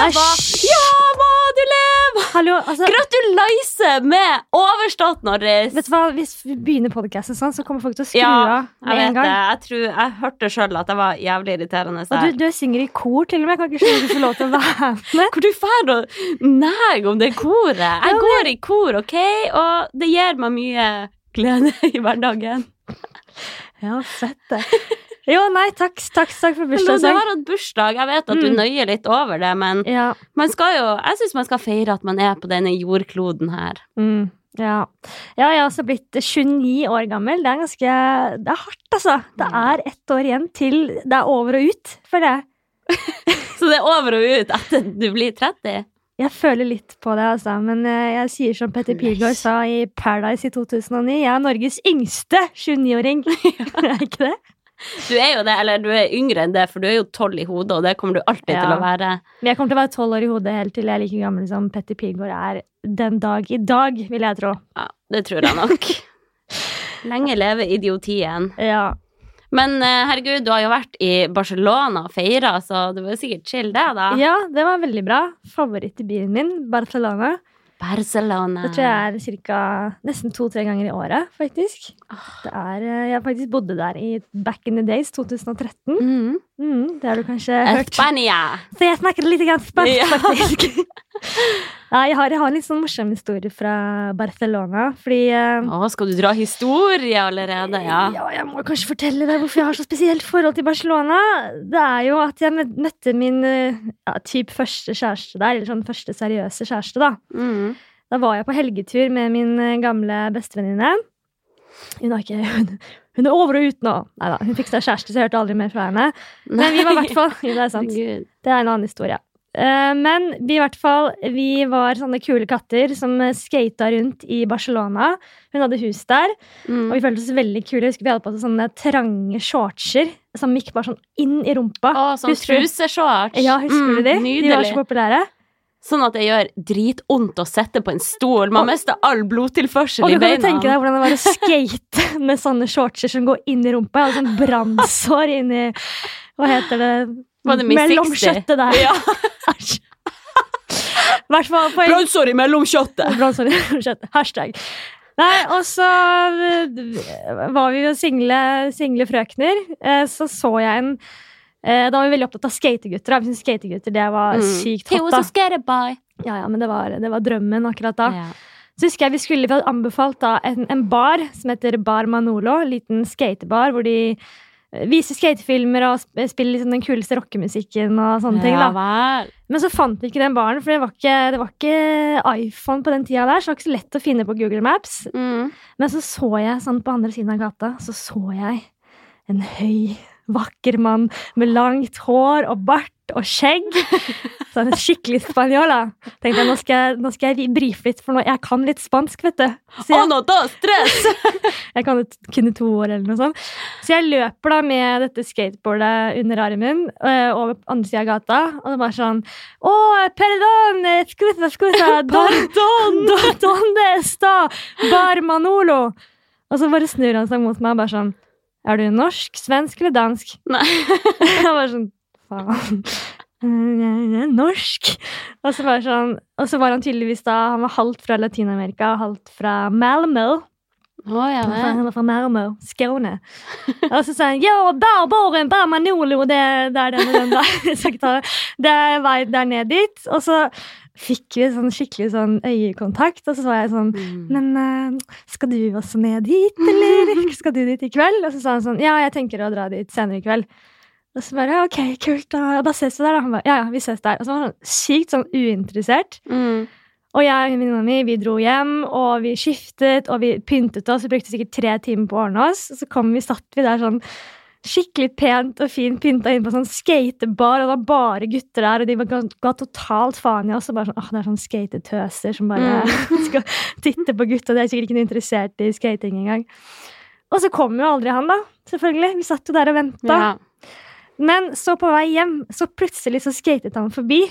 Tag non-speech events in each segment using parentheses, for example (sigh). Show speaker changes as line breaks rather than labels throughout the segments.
Æsj!
Ja, hva du lever!
Hallo, altså,
Gratuleise med overstått, Norris!
vet du hva? Hvis vi begynner podcasten sånn, så kommer folk til å skru
Ja,
av
jeg
med en
vet det.
gang.
Jeg, tror, jeg hørte sjøl at jeg var jævlig irriterende.
Og du, du synger i kor til og med. Jeg kan ikke skjønne at du får lov til å
(laughs)
være med.
Hvor du drar og neger om det koret? Jeg går i kor, OK? Og det gir meg mye glede (laughs) i hverdagen.
Ja, fett det. Jo, nei, takk, takk, takk for
Men du
bursdagssang.
har hatt bursdag. Jeg vet at du
Mm.
nøyer litt over det, men
Ja.
man skal jo, jeg syns man skal feire at man er på denne jordkloden her.
Mm, ja. ja, jeg har også blitt 29 år gammel. Det er ganske Det er hardt, altså. Det
Mm.
er ett år igjen til det er over og ut, føler jeg.
Så det er over og ut etter du blir 30.
Jeg føler litt på det, altså. Men eh, jeg sier som Petter Pilgaard sa i Paradise i 2009, jeg er Norges yngste
(laughs)
29-åring. (laughs) er jeg ikke det?
Du er jo det, eller du er yngre enn det, for du er jo 12 i hodet, og det kommer du alltid
Ja.
til å være.
Men jeg kommer til å være tolv år i hodet helt til jeg er like gammel som Petter Pilgaard er den dag i dag, vil jeg tro.
Ja, det tror jeg nok. (laughs) Lenge leve idiotien.
Ja.
Men eh, herregud, du har jo vært i Barcelona og feira, så det var jo sikkert chill, det, da.
ja, det var veldig bra. Favoritt i byen min, Barcelona.
Barcelona.
Det tror jeg er cirka nesten to-tre ganger i året, faktisk. Det er, eh, jeg faktisk bodde der i back in the days, 2013.
Mm.
Mm, det har du kanskje hørt.
Spania. (laughs)
Så jeg snakker litt grann spansk,
Ja.
faktisk. Ja, jeg, har, jeg har en litt sånn morsom historie fra Barcelona, fordi eh,
(laughs) Å, skal du dra historie allerede? Ja.
ja, jeg må kanskje fortelle deg hvorfor jeg har så spesielt forhold til Barcelona. Det er jo at jeg mø- møtte min eh, ja, typ første kjæreste der, eller sånn første seriøse kjæreste, da.
Mm.
Da var jeg på helgetur med min eh, gamle bestevenninne. Hun har ikke (laughs) hun, hun er over og ut nå. Neida, hun fikk seg kjæreste, så jeg hørte aldri mer fra henne. Men vi var i hvert fall Jo, det er sant.
Herregud.
Det er en annen historie. Eh, Men vi, i hvert fall, vi var sånne kule katter som eh, skata rundt i Barcelona. Hun hadde hus der, og
Mm.
vi følte oss veldig kule. Jeg husker Vi hadde på oss sånne trange shortser som gikk bare sånn inn i rumpa.
Å, sånn
Husker du-
truseshorts.
Ja, husker du de? De var
Nydelig.
så populære.
Sånn at det gjør dritvondt å sitte på en stol. Man
Og-
mister all blodtilførsel
Og
i
du kan jo tenke
beina.
deg hvordan det var å skate (laughs) med sånne shortser som går inn i rumpa. Jeg hadde sånn brannsår inni Hva heter det?
Var det Miss
Mellom
60?
kjøttet der.
Ja.
Æsj. (laughs) I hvert fall på en
Brannsår mellom kjøttet.
(laughs) Brannsår i kjøttet. Hashtag. Nei, og så eh, var vi jo single, single frøkner. eh, Så så jeg en eh, Da var vi veldig opptatt av skategutter. da. Vi syntes skategutter det var
Mm.
sykt hot. da.
boy.
Ja, ja, men det var, det var drømmen akkurat da.
Ja.
Så husker jeg vi skulle vi hadde anbefalt da en, en bar som heter Bar Manolo. En liten skatebar hvor de eh, viser skatefilmer og sp- spiller liksom den kuleste rockemusikken og sånne ting. da.
vel.
Men så fant vi ikke den baren, for det var ikke, det var ikke iPhone på den tida der. Så det var ikke så lett å finne på Google Maps.
Mm.
Men så så jeg sånn på andre siden av gata, så så jeg en høy, vakker mann med langt hår og bart og skjegg. Så en skikkelig spanjol, da. Tenkte jeg, nå skal jeg, nå skal jeg brife litt, for nå, jeg kan litt spansk, vet du. Så jeg,
Uno, dos, tres!
jeg kan jo kunne to år eller noe sånt. Så jeg løper da med dette skateboardet under armen øh, over på andre siden av gata, og det var sånn Å, perdon, scusa, scusa,
(laughs)
don,
Pardon!
Do- Donde está Bar Manolo? Og så bare snur han seg mot meg og bare sånn Er du norsk, svensk eller dansk? (laughs)
Nei.
Jeg bare sånn Faen. Jeg er Norsk. Og så, bare sånn, og så var han tydeligvis da Han var halvt fra Latin-Amerika og halvt fra Malmö.
Å, ja vel.
Han var fra Malmö, Skåne. Og så sa han Ja, bær baren, bær Manolo, det, det er den og den der. (laughs) Så jeg tar- det er vei der ned dit. Og så fikk vi sånn skikkelig sånn øyekontakt, og så var jeg sånn
Mm.
men eh, skal du også ned dit, eller skal du dit i kveld? Og så sa han sånn, ja, jeg tenker å dra dit senere i kveld. Og så bare, ok, kult, da, da ses vi der. da." Han bare, ja, ja, vi ses der. Og så var han sykt sånn uinteressert.
Mm.
Og jeg og venninna mi, vi dro hjem, og vi skiftet, og vi pyntet oss. Vi brukte sikkert tre timer på å ordne oss. Og så kom vi, satt vi der sånn skikkelig pent og fint pynta inn på sånn skatebar, og det var bare gutter der, og de ga, ga totalt faen i oss. Og bare sånn, åh, det er sånn skatetøser som bare (laughs) skal titte på gutta, de er sikkert ikke noe interessert i skating engang. Og så kom jo aldri han, da. Selvfølgelig. Vi satt jo der og venta.
Ja.
Men så på vei hjem, så plutselig så skatet han forbi.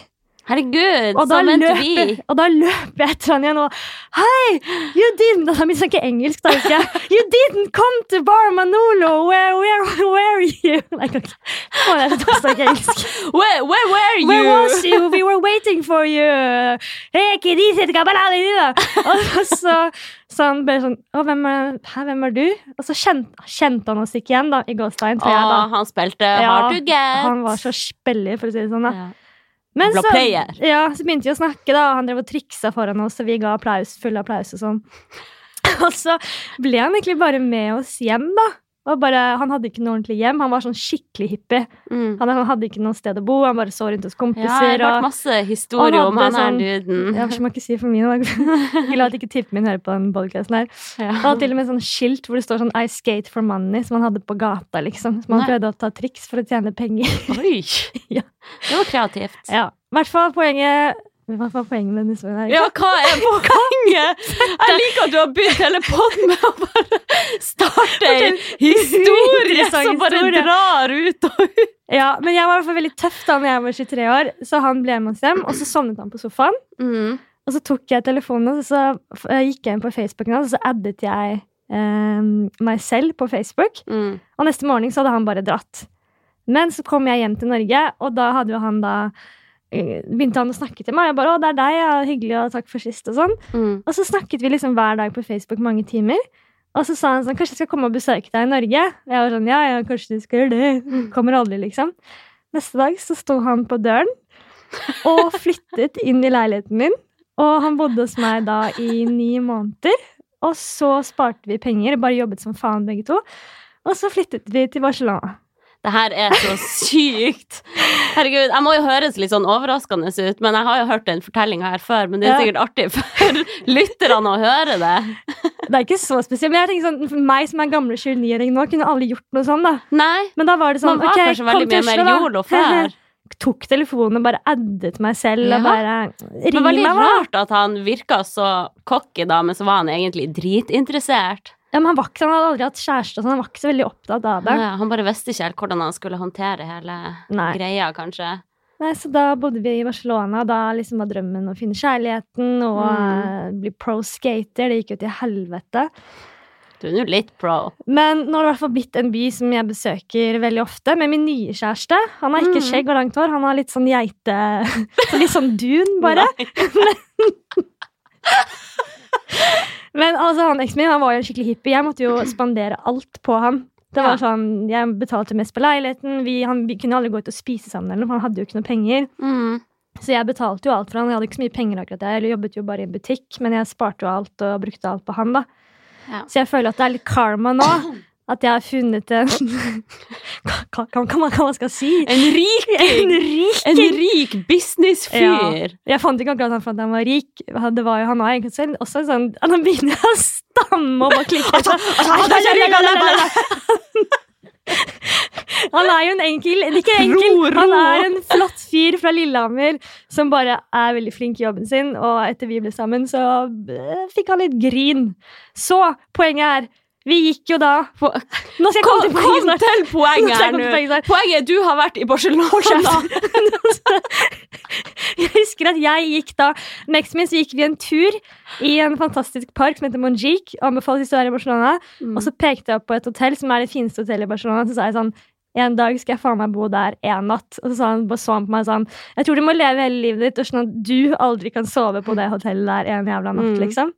Herregud,
Og da,
så venter
løper,
vi.
og da løper jeg etter han igjen og Hei, you didn't Da snakker jeg ikke engelsk, da husker jeg. (laughs) You didn't come to Bar Manolo. Where, where,
(laughs)
where (laughs) are you? Nei, jeg kan ikke. Å, jeg snakker ikke engelsk.
Where, where were you?
Where was you? We were waiting for
(laughs)
you! Hey, kiddies, jeg skal bare alle dine!» Og så sa han bare sånn Å, hvem er, hæ, hvem er du? Og så kjente, kjente han oss ikke igjen, da, i gåstein, tror jeg.
Og
da.
han spilte
Ja,
Hard to Get.
Han var så spellig, for å si det sånn. da.
ja.
Men
Bra
så,
player.
ja, så begynte vi å snakke, da. og Han drev og triksa foran oss, og vi ga applaus, full applaus og sånn. (laughs) Og så ble han egentlig bare med oss hjem, da. Og bare, han hadde ikke noe ordentlig hjem. Han var sånn skikkelig hippie.
Mm.
Han, han hadde ikke noe sted å bo, han bare så rundt hos
Ja, jeg
kompiser.
har hørt
og,
masse historier
Han
om
hadde
han her
sånn-
duden.
ja, som jeg ikke sier for mine. da. (laughs) Glad at ikke tippen min hører på den podcasten her.
(laughs)
Han
Ja.
hadde til og med sånn skilt hvor det står sånn 'I skate for money', som han hadde på gata, liksom. Som han
Nei.
prøvde å ta triks for å tjene penger. (laughs)
(laughs) Oi!
Ja.
Det var kreativt.
Ja, i hvert fall poenget Hva var poenget med denne historien her?
Ja, hva er poenget? Jeg liker at du har begynt hele podden med å bare starte en historie
Interessant
som bare
historie.
drar ut og ut.
Ja, men jeg var i hvert fall veldig tøff da når jeg var 23 år, så han ble med oss hjem, og så sovnet han på sofaen.
Mm,
Og så tok jeg telefonen hans, og så f- eh, gikk jeg inn på Facebooken hans, og så addet jeg eh, meg selv på Facebook.
Mm.
Og neste morgen så hadde han bare dratt. Men så kom jeg hjem til Norge, og da hadde jo han da eh, begynte han å snakke til meg. Jeg bare 'Å, det er deg, ja. Hyggelig, og takk for sist', og sånn.
Mm.
Og så snakket vi liksom hver dag på Facebook mange timer. Og så sa han sånn, kanskje jeg skal komme og besøke deg i Norge? Og jeg var sånn, ja, ja, kanskje du skal gjøre det. (laughs) Kommer aldri, liksom. Neste dag så sto han på døren og flyttet inn i leiligheten min. Og han bodde hos meg da i ni måneder. Og så sparte vi penger, bare jobbet som faen begge to. Og så flyttet vi til Barcelona.
Det her er så sykt. Herregud, Jeg må jo høres litt sånn overraskende ut, men jeg har jo hørt den fortellinga her før. Men det er
Ja.
sikkert artig for (laughs) lytterne å høre det.
Det er ikke så spesielt, men jeg tenker sånn, for meg som er gamle 29-åring nå, kunne aldri gjort noe sånn, da.
Nei,
Men da var det sånn,
man var
ok,
kanskje
kom
veldig
til
mye
Oslo
mer
da.
jolo
(laughs)
før.
tok telefonen og bare addet meg selv
Ja.
og bare Ring
Men
meg,
veldig
da!
rart at han virka så cocky da, men så var han egentlig dritinteressert.
Ja, men han, var ikke, sånn, han hadde aldri hatt kjæreste, så han var ikke så veldig opptatt av det.
Ja, han bare visste ikke helt hvordan han skulle håndtere hele
Nei.
greia, kanskje.
Nei, Så da bodde vi i Barcelona, og da liksom var drømmen å finne kjærligheten og
Mm.
eh, bli pro skater. Det gikk jo til helvete.
Du er nå litt pro.
Men nå har det i hvert fall blitt en by som jeg besøker veldig ofte, med min nye kjæreste. Han har ikke
Mm.
skjegg og langt hår, han har litt sånn geite (laughs) så Litt sånn
(laughs)
dun, bare.
Nei.
Men altså, han eksen min han var jo en skikkelig hippie. Jeg måtte jo spandere alt på han. Det
Ja.
var sånn, Jeg betalte mest på leiligheten. Vi, han, vi kunne aldri gå ut og spise sammen, eller noe, for han hadde jo ikke noe penger.
Mm.
Så jeg betalte jo alt for han. Jeg hadde ikke så mye penger akkurat der. Jeg jobbet jo bare i en butikk, men jeg sparte jo alt og brukte alt på han, da.
Ja.
Så jeg føler at det er litt karma nå. At jeg har funnet en (laughs) Hva hva- hva man, hva man skal si?
En rik,
(laughs) En rik
en rik businessfyr!
Jeg fant ikke akkurat han for at han var rik. Han- Det var jo, han var egentlig selv også en sånn Han begynner å stamme og bare klikke.
(laughs)
altså, Han er jo en enkel Ikke enkel,
Ro, ro.
han er en flott fyr fra Lillehammer som bare er veldig flink i jobben sin, og etter vi ble sammen, så eh, fikk han litt grin. Så poenget er Vi gikk jo da
Få-
Nå skal jeg
Kom,
komme til poenget
kom
snart.
til
Nå
poenget
skal jeg
her
komme til altså. poenget
nå!
snart.
Poenget er du har vært i Barcelona.
(laughs) Jeg husker at jeg gikk da Med eksen min så gikk vi en tur i en fantastisk park som heter Monjique. Anbefales hvis du er i Barcelona.
Mm.
Og så pekte jeg opp på et hotell som er det fineste hotellet i Barcelona. Så sa jeg sånn en dag skal jeg faen meg bo der en natt. Og så sa han, bare så han på meg sånn Jeg tror du må leve hele livet ditt, og sånn at du aldri kan sove på det hotellet der en jævla natt,
Mm.
liksom.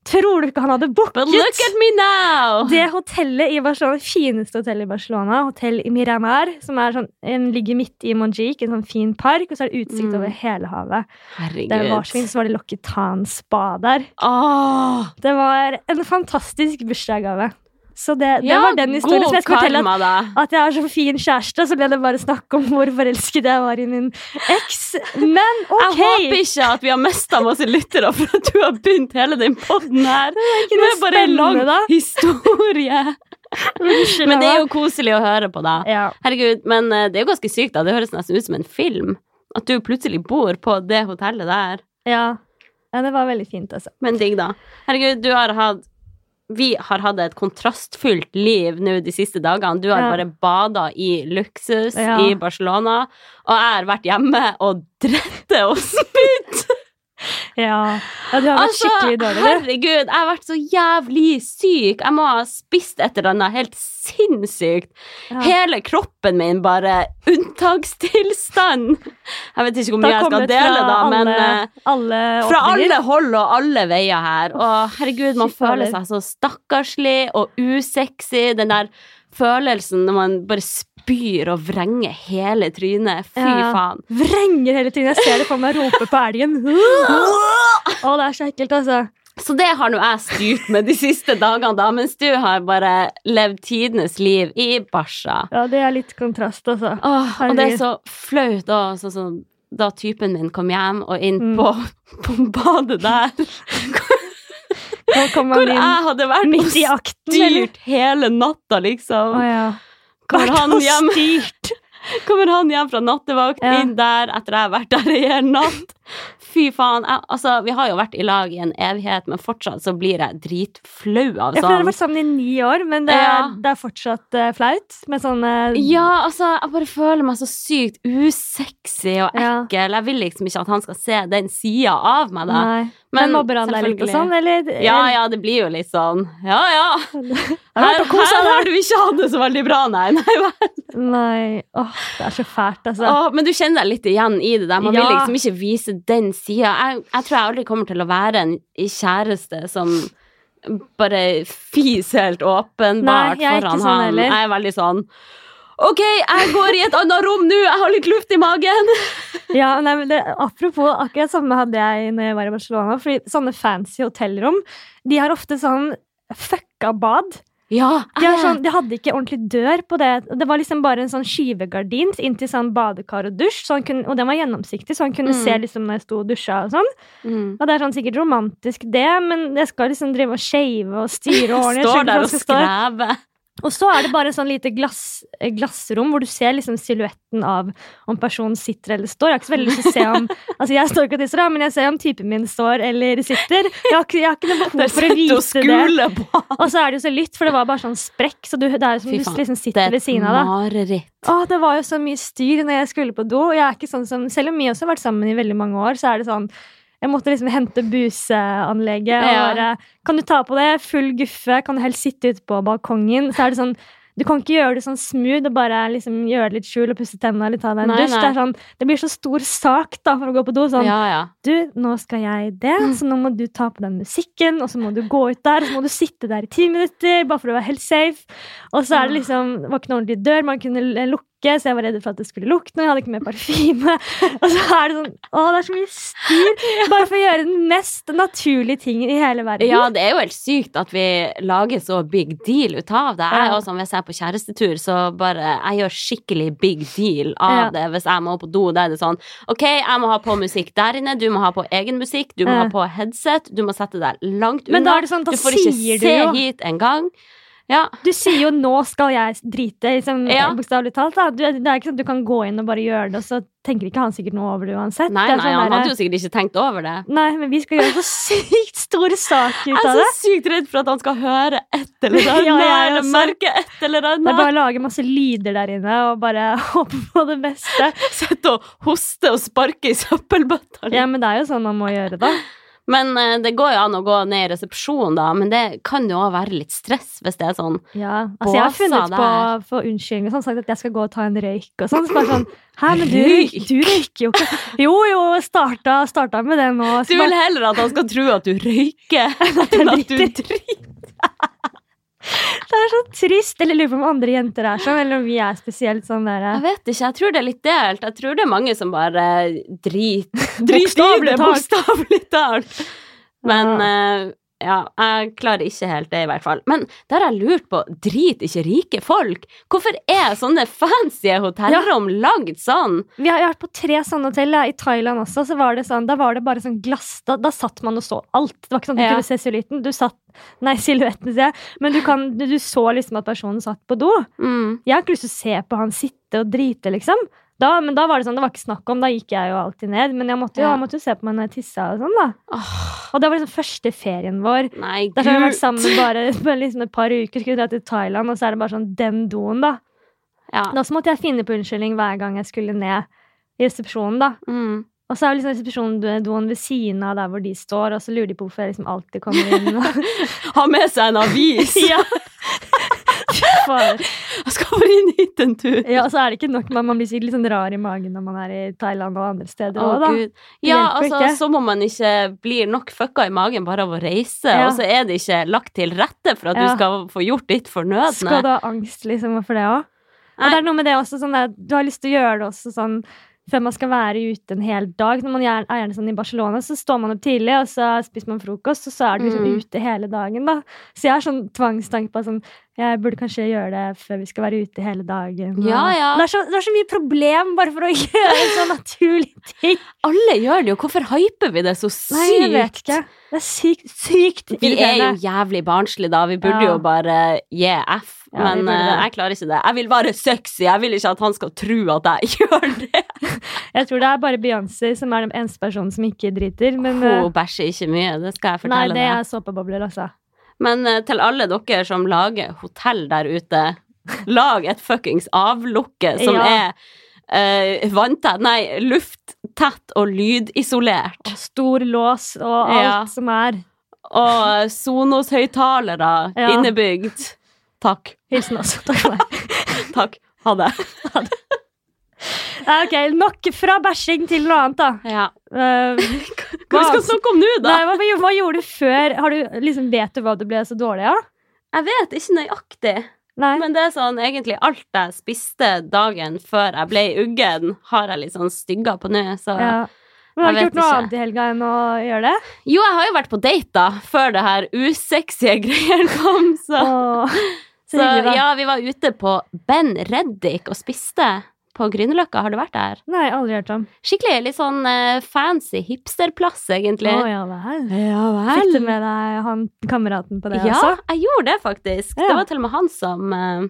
Tror du ikke han hadde
But look
booket
at me now!
det hotellet i Barcelona, det fineste hotellet i Barcelona, hotell i Miramar, som er sånn, en ligger midt i Monjique, en sånn fin park, og så er det utsikt
Mm.
over hele havet.
Herregud.
Det var så fint, så var det Lokitan spa der.
Åh,
Det var en fantastisk bursdagsgave. Så det, det
ja,
var den historien.
god
som jeg skal fortelle at
karma, da.
at jeg har så fin kjæreste, så ble det bare snakk om hvor forelsket jeg var i min eks. Men
(laughs) Jeg
ok!
håper ikke at vi har mista masse lyttere for at du har begynt hele den podden her
ikke noe
med bare en lang
spennende, da.
historie. (laughs)
Unnskyld
Men det er
meg.
jo koselig å høre på, da.
ja.
Herregud, men eh, det er jo ganske sykt, da. Det høres nesten ut som en film. At du plutselig bor på det hotellet der.
Ja. ja, det var veldig fint, altså.
Men digg, da. Herregud, du har hatt Vi har hatt et kontrastfylt liv nå de siste dagene. Du har
Ja.
bare bada i luksus
Ja.
i Barcelona, og jeg har vært hjemme og drette og spydd.
Ja. ja, du har vært
Altså,
skikkelig dårlig, du.
herregud, jeg har vært så jævlig syk. Jeg må ha spist et eller annet helt sinnssykt.
Ja.
Hele kroppen min bare unntakstilstand. Jeg vet ikke hvor mye
Da
jeg
kommer
skal
det
dele,
fra
da, men
alle,
eh,
alle
fra
åpninger.
alle hold og alle veier her. Og herregud, man
fy fader.
føler seg så stakkarslig og usexy. Den der følelsen når man bare spyr og vrenger hele trynet. Fy
Ja.
faen.
Vrenger hele tiden. Jeg ser det for meg rope på
(gasps)
elgen. Å, det er så ekkelt, altså.
Så det har nå jeg styrt med de siste dagene, da, mens du har bare levd tidenes liv i barsa.
Ja, det er litt kontrast, altså.
Åh, og det er
herregud.
så flaut da, sånn som da typen min kom hjem og inn
Mm.
på, på badet der,
Nå kommer
hvor
man
jeg hadde
inn
vært og
midt i akten. eller?
styrt hele natta, liksom.
Å ja.
Kommer han
og
hjem?
styrt.
(laughs) Kommer han hjem fra nattevakt,
Ja.
inn der etter jeg har vært der i en natt. Fy faen. Jeg, altså, vi har jo vært i lag i en evighet, men fortsatt så blir jeg dritflau av
Jeg har
sånn.
vært sammen i ni år, men det er,
Ja.
det er fortsatt eh, flaut. Med sånn eh,
Ja, altså, jeg bare føler meg så sykt usexy og
Ja.
ekkel. Jeg vil liksom ikke at han skal se den sida av meg, da.
Nei. Men, mobber han deg litt og
selvfølgelig.
sånn, eller?
Ja, ja, det blir jo litt sånn. Ja, ja. Her,
vært og koset
her
deg.
har du ikke hatt det så veldig bra, nei. (laughs) nei hva?
Nei. Åh, det er så fælt, altså.
Åh, men du kjenner deg litt igjen i det der. Man vil
Ja.
liksom ikke vise den sida. Jeg, jeg tror jeg aldri kommer til å være en kjæreste som bare fiser helt
Nei,
åpenbart
jeg er ikke
foran
sånn
han.
heller.
Jeg er veldig sånn OK, jeg går i et annet rom nå! Jeg har litt luft i magen!
Ja, nei, men det, apropos, akkurat samme hadde jeg når jeg var i Barcelona. Fordi sånne fancy hotellrom, de har ofte sånn fucka bad.
Ah, Ja,
De, har sånn, de hadde ikke ordentlig dør på det. Det var liksom bare en sånn skyvegardin inntil sånn badekar og dusj, så han kunne, og den var gjennomsiktig, så han kunne
Mm.
se liksom når jeg sto og dusja og sånn.
Mm.
Og det er sånn sikkert romantisk, det, men jeg skal liksom drive og shave
(laughs)
og styre og ordne. Jeg
Står
skjønner ikke
der
hva
og
jeg skal stå.
skrever.
Og så er det bare sånn lite glass, eh, glassrom hvor du ser liksom silhuetten av om personen sitter eller står. Jeg har ikke så veldig lyst til å se
(laughs)
om Altså, jeg står ikke og tisser, da, men jeg ser om typen min står eller sitter. Jeg har ikke, jeg har ikke noe
Der
behov for å
sitter og
vite det.
skuler på.
Og så er det jo så lytt, for det var bare sånn sprekk, så du, det er jo som
Fy
du
faen,
liksom sitter ved siden av, da.
mareritt.
Å, det var jo så mye styr når jeg skulle på do. Og jeg er ikke sånn som, selv om vi også har vært sammen i veldig mange år, så er det sånn jeg måtte liksom hente buseanlegget og
Ja.
bare Kan du ta på det? Full guffe. Kan du helst sitte ute på balkongen? Så er det sånn Du kan ikke gjøre det sånn smooth og bare liksom gjøre det litt skjul og pusse tennene eller ta deg en
Nei,
dusj.
nei.
Det, er sånn, det blir så stor sak da for å gå på do. Sånn
Ja, ja.
Du, nå skal jeg det,
Mm.
så nå må du ta på den musikken, og så må du gå ut der, så må du sitte der i ti minutter, bare for å være helt safe. Og så er
Ah.
det liksom, det var ikke noe ordentlig dør man kunne l- lukke, så jeg var redd for at det skulle lukte. Jeg hadde ikke med parfyme. (laughs) Og så er det sånn Å, det er så mye styr! Bare for å gjøre den mest naturlige tingen i hele verden.
Ja, det er jo helt sykt at vi lager så big deal ut av det. Jeg er
Ja.
også, Hvis jeg er på kjærestetur, så bare Jeg gjør skikkelig big deal av
Ja.
det. Hvis jeg må på do, da er det sånn OK, jeg må ha på musikk der inne, du må ha på egen musikk, du må
Ja.
ha på headset, du må sette deg langt unna.
Men da er det sånn, da
du får ikke
sier du
se
jo-
hit engang. Ja.
Du sier jo 'nå skal jeg drite', liksom,
Ja.
bokstavelig talt. Da. Du, det er ikke sånn at du kan gå inn og bare gjøre det, og så tenker ikke han sikkert noe over det uansett.
Nei,
det er
nei,
sånn
han
der-
hadde jo sikkert ikke tenkt over det.
Nei, men vi skal gjøre så sykt stor sak ut
Jeg
av
er
det.
så sykt redd for at han skal høre et (laughs) eller annet,
Ja, jeg
eller
også.
merke et eller
Det er
annet. (laughs)
bare å lage masse lyder der inne og bare (laughs) håpe på det beste.
Sitte og hoste og sparke i søppelbøtta. liksom.
Ja, men det er jo sånn man må gjøre, da.
Men eh, det går jo an å gå ned i resepsjonen, da, men det kan jo òg være litt stress hvis det er sånn.
Ja, altså Jeg har funnet
Båsa
på
der.
for unnskyldning og sånn, sagt at jeg skal gå og ta en røyk og sånn. Så bare sånn Hæ, men du,
Røyk?
du røyker jo ikke. Jo jo, starta, starta med det nå.
Du
Så
vil
bare,
heller at han skal tro at du røyker, (laughs) enn at du driter.
det er så trist. Eller lurer på om andre jenter er sånn, eller om vi er spesielt sånn
Jeg
der.
vet ikke, jeg tror det er litt delt. Jeg tror det er mange som bare eh, driter i
Bokstavelig
det,
talt.
bokstavelig talt. Men eh, ja, jeg klarer ikke helt det, i hvert fall. Men der har jeg lurt på, driter ikke rike folk? Hvorfor er sånne fancy hotellrom lagd sånn?
Vi har, jeg har vært på tre sånne hotell. ja. I Thailand også. Så var det sånn, da var det bare sånn glass. Da, da satt man og så alt. Det var ikke sånn at du
Ja.
kunne se silhuetten. Du satt, nei, silhuetten, sier jeg. Men du, kan, du, du så liksom at personen satt på do.
Mm.
Jeg har ikke lyst til å se på han sitte og drite, liksom. Da, men da var det sånn, det var ikke snakk om, da gikk jeg jo alltid ned. Men jeg måtte jo,
Ja.
han måtte jo se på meg når jeg tissa og sånn, da.
Åh,
Og det var liksom første ferien vår.
nei,
Der har vi vært
gud.
sammen bare, (laughs) bare liksom et par uker, skulle dra til Thailand, og så er det bare sånn den doen, da.
Ja.
Da så måtte jeg finne på unnskyldning hver gang jeg skulle ned i resepsjonen, da.
Mm.
Og så er det liksom resepsjonsdoen ved siden av der hvor de står, og så lurer de på hvorfor jeg liksom alltid kommer
(laughs)
inn. Og,
Ha med seg en avis!
(laughs) ja. Fy faen.
(laughs) Jeg skal bare inn hit en tur.
ja, og så er det ikke nok, men man blir sikkert litt sånn rar i magen når man er i Thailand og andre steder
Å,
også, da.
Gud. Ja,
hjelper
altså,
ikke.
så må man ikke bli nok fucka i magen bare av å reise,
Ja.
og så er det ikke lagt til rette for at
Ja.
du skal få gjort ditt
Skal
fornødne.
du ha angst liksom, for det òg? Og
Nei.
det er noe med det også, sånn der, du har lyst til å gjøre det også sånn før man skal være ute en hel dag. Når man gjerne, er gjerne sånn i Barcelona, så står man opp tidlig, og så spiser man frokost, og så er du liksom
Mm.
ute hele dagen, da. Så jeg har sånn tvangstanke på at sånn Jeg burde kanskje gjøre det før vi skal være ute hele dagen. og-
Ja, ja.
Det, er så, det er så mye problem bare for å (laughs) gjøre så naturlige ting.
Alle gjør det jo, hvorfor hyper vi det så sykt?
Nei, jeg vet ikke. Det er sykt, sykt
Vi er jo
irriterende.
jævlig barnslige, da. Vi burde
Ja.
jo bare gi F.
Ja, vi
Men
burde det.
eh, jeg klarer ikke det. Jeg vil være sexy. Jeg vil ikke at han skal tro at jeg (laughs) gjør det.
Jeg tror det er bare Beyoncé som er den eneste personen som ikke driter, men eh,
Hun bæsjer ikke mye, det skal jeg
Nei,
fortelle
det
deg.
er såpebobler, altså.
Men eh, til alle dere som lager hotell der ute,
(laughs)
lag et fuckings avlukke som
Ja.
er eh, vanntett Nei, lufttett og lydisolert.
Og stor lås og alt
Ja.
som er.
Og Sonos-høyttalere
Ja.
innebygd. Takk.
Hilsen oss. Takk for meg.
Takk. Ha det.
Nei, ok, Nok fra bæsjing til noe annet, da.
Ja. (laughs)
Eh,
Hva skal vi snakke om nå, da?
nei, hva, hva gjorde du før? Har du, liksom, vet du hva du ble så dårlig av?
Jeg vet ikke nøyaktig,
Nei.
men det er sånn egentlig alt jeg spiste dagen før jeg ble uggen, har jeg litt sånn stygga på nå. Så.
ja. Men har du
Jeg
ikke
vet
gjort noe
ikke.
annet i helga enn å gjøre det?
Jo, jeg har jo vært på date, da, før det her usexy (laughs) greiene kom, (laughs) så, (laughs)
Åh, så
så
hyggelig, da.
ja, vi var ute på Ben Reddik og spiste. På Grünerløkka, har du vært der?
Nei, aldri hørt om.
Skikkelig litt sånn eh, fancy hipsterplass, egentlig.
Å ja vel.
ja
Fikk du med deg han kameraten på det
ja,
også?
jeg gjorde det faktisk.
Ja.
Det var til og med han som eh,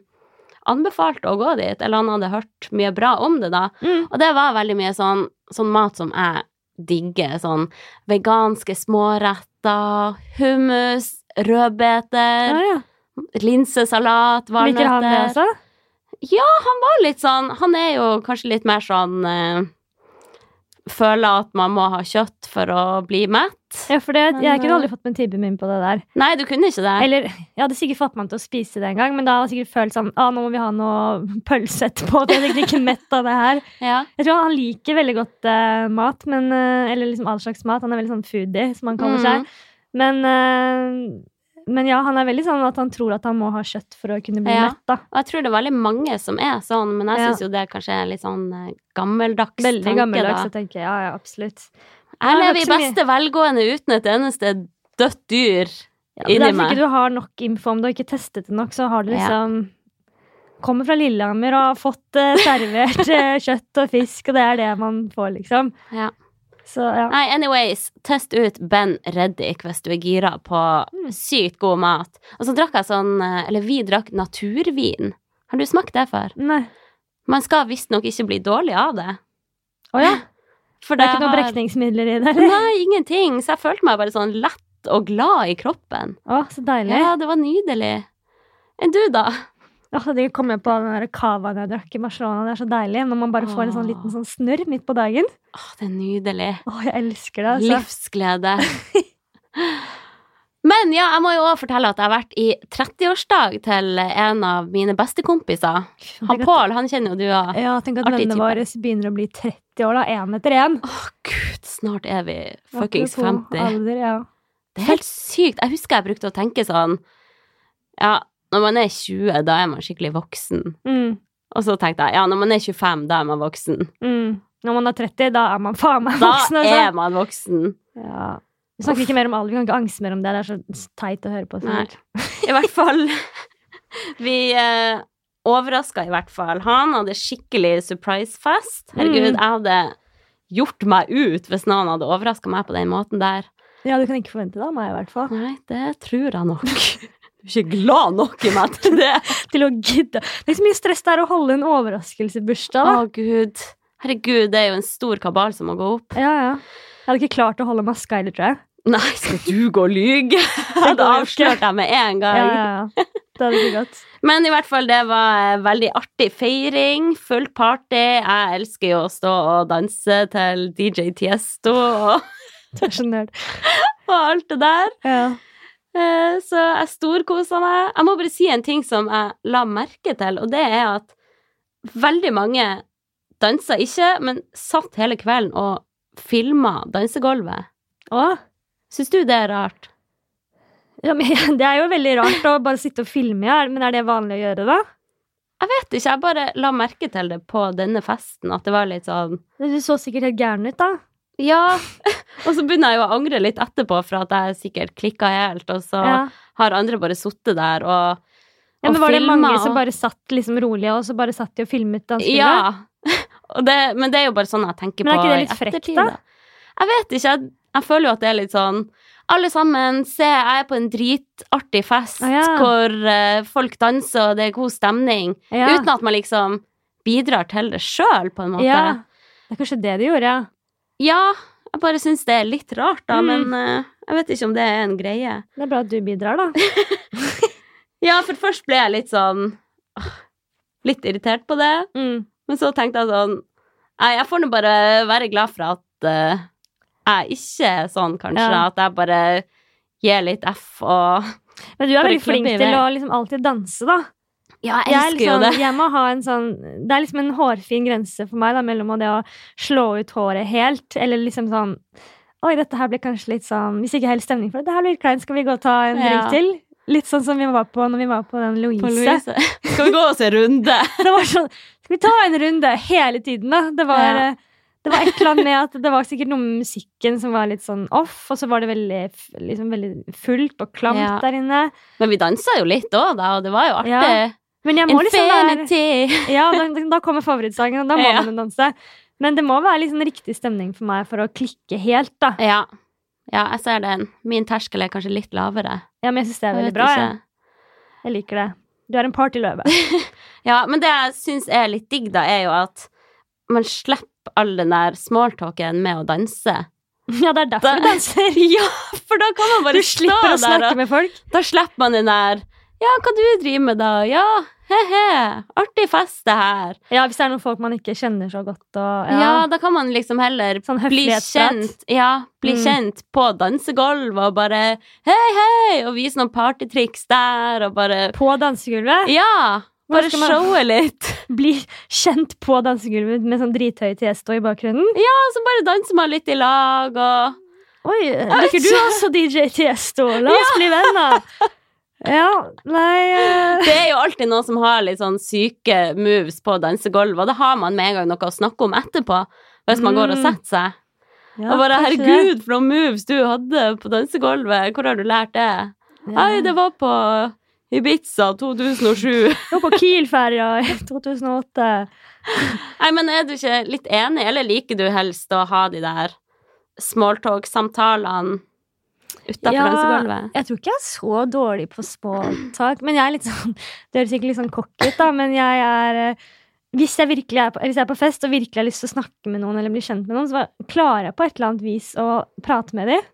anbefalte å gå dit, eller han hadde hørt mye bra om det da.
Mm.
Og det var veldig mye sånn, sånn mat som jeg digger, sånn veganske småretter, hummus,
Ja,
rødbeter,
ja.
linsesalat,
Liker han det
valnøtter.
også?
Og litt sånn, han er jo kanskje litt mer sånn eh, Føler at man må ha kjøtt for å bli mett.
Ja, for det, jeg
Men,
kunne
eh,
aldri fått med tibben min på det der.
Nei, du kunne ikke det.
Eller jeg hadde sikkert fått meg til å spise det en gang, men da hadde jeg sikkert følt sånn ah, nå må vi ha noe pølse etterpå. for Jeg er sikkert ikke mett av det her.
Ja.
Jeg tror han liker veldig godt eh, mat, men, eh, eller liksom all slags mat. Han er veldig sånn foodie, som han kaller
Mhm.
seg. Men, eh, men ja, han er veldig sånn at han tror at han må ha kjøtt for å kunne bli
Ja.
mett. da.
Og jeg tror det er veldig mange som er sånn, men jeg
Ja.
syns jo det kanskje er litt sånn eh, gammeldags
Veldig
tanke,
gammeldags. Jeg tenker, ja, ja, absolutt.
da. Jeg
Nei,
lever
det
i
er ikke så
beste velgående uten et eneste dødt dyr
Ja, men det
inni
er Hvis
meg.
ikke du har nok info om det, og ikke testet det nok, så har du
Ja.
liksom Kommer fra Lillehammer og har fått eh,
(laughs)
servert eh, kjøtt og fisk, og det er det man får, liksom.
Ja.
Så ja.
Nei, anyways, test ut Ben Reddik hvis du er gira på
Mm.
sykt god mat. Og så drakk jeg sånn eh, Eller vi drakk naturvin. Har du smakt det før?
Nei.
Man skal visstnok ikke bli dårlig av det. (laughs)
Å ja.
For
Det er ikke noen
har-
brekningsmidler i det?
(laughs)
eller?
Nei, ingenting. Så jeg følte meg bare sånn lett og glad i kroppen.
Å, så deilig.
Ja, det var nydelig. Enn du, da?
Åh, det kommer jeg på den der cavaen jeg drakk i Barcelona. Det er så deilig når man bare får en sånn
Åh.
liten sånn snørr midt på dagen.
Åh, det er nydelig.
Å, jeg elsker det. Altså.
Livsglede. (laughs) Men ja, jeg må jo også fortelle at jeg har vært i 30-årsdag til en av mine bestekompiser. Han
Tenk at-
Pål, han kjenner jo du òg.
Ja, tenk at
Artig
vennene
type.
våre begynner å bli 30 år, da. Én etter én.
Å, gud, snart er vi fuckings
Apropos
50.
Alder, ja.
Det er helt sykt. Jeg husker jeg brukte å tenke sånn Ja, når man er 20, da er man skikkelig voksen.
Mm.
Og så tenkte jeg ja, når man er 25, da er man voksen.
Mm. Når man er 30, da er man faen meg
Da
voksen. Altså.
er man voksen.
Ja. Vi snakker ikke mer om alder, vi kan ikke angste mer om det. Det er så teit å høre på.
Nei.
sikkert.
I hvert fall (laughs) Vi eh, overraska i hvert fall han. Hadde skikkelig surprise-fest. Herregud,
Mm.
jeg hadde gjort meg ut hvis noen hadde overraska meg på den måten der.
Ja, du kan ikke forvente det av meg, i hvert fall.
Nei, det tror jeg nok. (laughs) Du er ikke glad nok i meg til det.
Til å gidde. Det er ikke så mye stress det er å holde en
Å,
overraskelsesbursdag, (laughs) da.
gud. Herregud, det er jo en stor kabal som må gå opp.
Ja, ja. Jeg hadde ikke klart å holde maska heller, tror jeg.
Nei, skal du gå og lyge? (laughs) Da
går jo ikke.
avslørte jeg med en
Ja,
gang.
ja, ja. Det hadde blitt godt.
Men i hvert fall, det var en veldig artig feiring. Full party. Jeg elsker jo å stå og danse til DJ Tiesto og,
Du er så nerd.
og alt det der.
Ja.
Eh, Så jeg storkosa meg. Jeg må bare si en ting som jeg la merke til, og det er at veldig mange dansa ikke, men satt hele kvelden og filma dansegulvet.
Å,
Syns du det er rart?
ja, men, det er jo veldig rart å bare sitte og filme her, men er det vanlig å gjøre, da?
Jeg vet ikke, jeg bare la merke til det på denne festen, at det var litt sånn
Du så sikkert helt gæren ut, da.
Ja. (laughs) Og så begynner jeg jo å angre litt etterpå for at jeg sikkert klikka helt, og så
Ja.
har andre bare sittet der og, og
Ja, men var det
filmet
mange
og-
som bare satt liksom rolig, og så bare satt de og filmet dansegulvet?
Ja. (laughs) Og det, men det er jo bare sånn jeg tenker
Men er
på
ikke det
i
litt frekt,
ettertid,
da?
Jeg vet ikke. Jeg, jeg føler jo at det er litt sånn Alle sammen, se, jeg er på en dritartig fest
Å, ja.
hvor eh, folk danser, og det er god stemning.
Ja.
Uten at man liksom bidrar til det sjøl, på en måte.
Ja. Det er kanskje det de gjorde, ja.
Ja, jeg bare syns det er litt rart, da,
Mm.
men eh, jeg vet ikke om det er en greie.
Det er bra at du bidrar, da.
Ja, for først ble jeg litt sånn åh, Litt irritert på det,
Mm.
men så tenkte jeg sånn Nei, jeg får nå bare være glad for at eh, jeg ikke er sånn, kanskje.
Ja.
At jeg bare gir litt F og
Men du er
Bare
veldig flink
klubbe i
til
vei.
å liksom alltid danse, da.
Ja, (laughs) jeg
Jeg, er
elsker jo
liksom,
det.
jeg må ha en sånn Det er liksom en hårfin grense for meg da, mellom det å slå ut håret helt, eller liksom sånn Oi, dette her ble kanskje litt sånn Hvis ikke helt stemning for det, det her blir kleint, skal vi gå og ta en drink
Ja.
til? Litt sånn som vi var på når vi var på den Louise.
Skal vi gå oss en runde?
(laughs) Det var sånn, skal vi ta en runde hele tiden da? Det var,
Ja.
eh, det var et eller annet med at det var sikkert noe med musikken som var litt sånn off, og så var det veldig, f- liksom, veldig fullt og klamt
Ja.
der inne.
Men vi dansa jo litt òg, da, og det var jo artig.
Ja, Men jeg må liksom være,
Infinity.
(laughs) ja, da, da kommer favorittsangen, og da må
Ja.
man danse. Men det må være liksom riktig stemning for meg for å klikke helt da.
Ja. ja, jeg ser den. Min terskel er kanskje litt lavere.
Ja, men jeg synes det er
Jeg
veldig
vet
bra.
ikke.
Jeg, jeg liker det. Du er en partyløve.
(laughs) Ja, men det jeg syns er litt digg, da, er jo at man slipper all den der smalltalken med å danse.
Ja, det er
Da-
derfor du danser.
(laughs) Ja, for da kan man
Du
bare stå
slipper å
der,
snakke
og
med folk.
da slipper man den der Ja, hva du driver med, da? Ja, he-he, artig fest, det her.
Ja, hvis det er noen folk man ikke kjenner så godt. Og,
Ja. da kan man liksom heller
Sånn
bli
høflighetsprat.
kjent Ja, bli
Mm.
kjent på dansegulvet og bare Hei, hei, og vise noen partytriks der, og bare
På dansegulvet.
Ja!
Hvordan
Bare
skal man-
showe
(laughs)
litt.
bli kjent på dansegulvet med sånn drithøy tiesto i bakgrunnen.
Og så bare danser man litt i lag, og
Oi,
vet
liker du
ikke.
også DJ Tiesto? La oss bli venner! Ja, nei eh,
Det er jo alltid noen som har litt sånn syke moves på dansegulv, og da har man med en gang noe å snakke om etterpå, hvis man går og
Mm.
setter seg.
ja,
og bare
kanskje
'herregud, for noen moves du hadde på dansegulvet, hvor har du lært det?'
det.
Nei, det var på Ibiza 2007.
Jeg var på Kiel-ferja i 2008.
Nei, men er du ikke litt enig, eller liker du helst å ha de der smalltalk-samtalene utafor
Ja.
dansegulvet?
Jeg tror ikke jeg er så dårlig på småtak, men jeg er litt sånn Det høres sikkert litt sånn kokk ut, da, men jeg er eh, hvis jeg, virkelig er på, hvis jeg er på fest og virkelig har lyst til å snakke med noen, eller bli kjent med noen, så bare klarer jeg på et eller annet vis å prate med dem.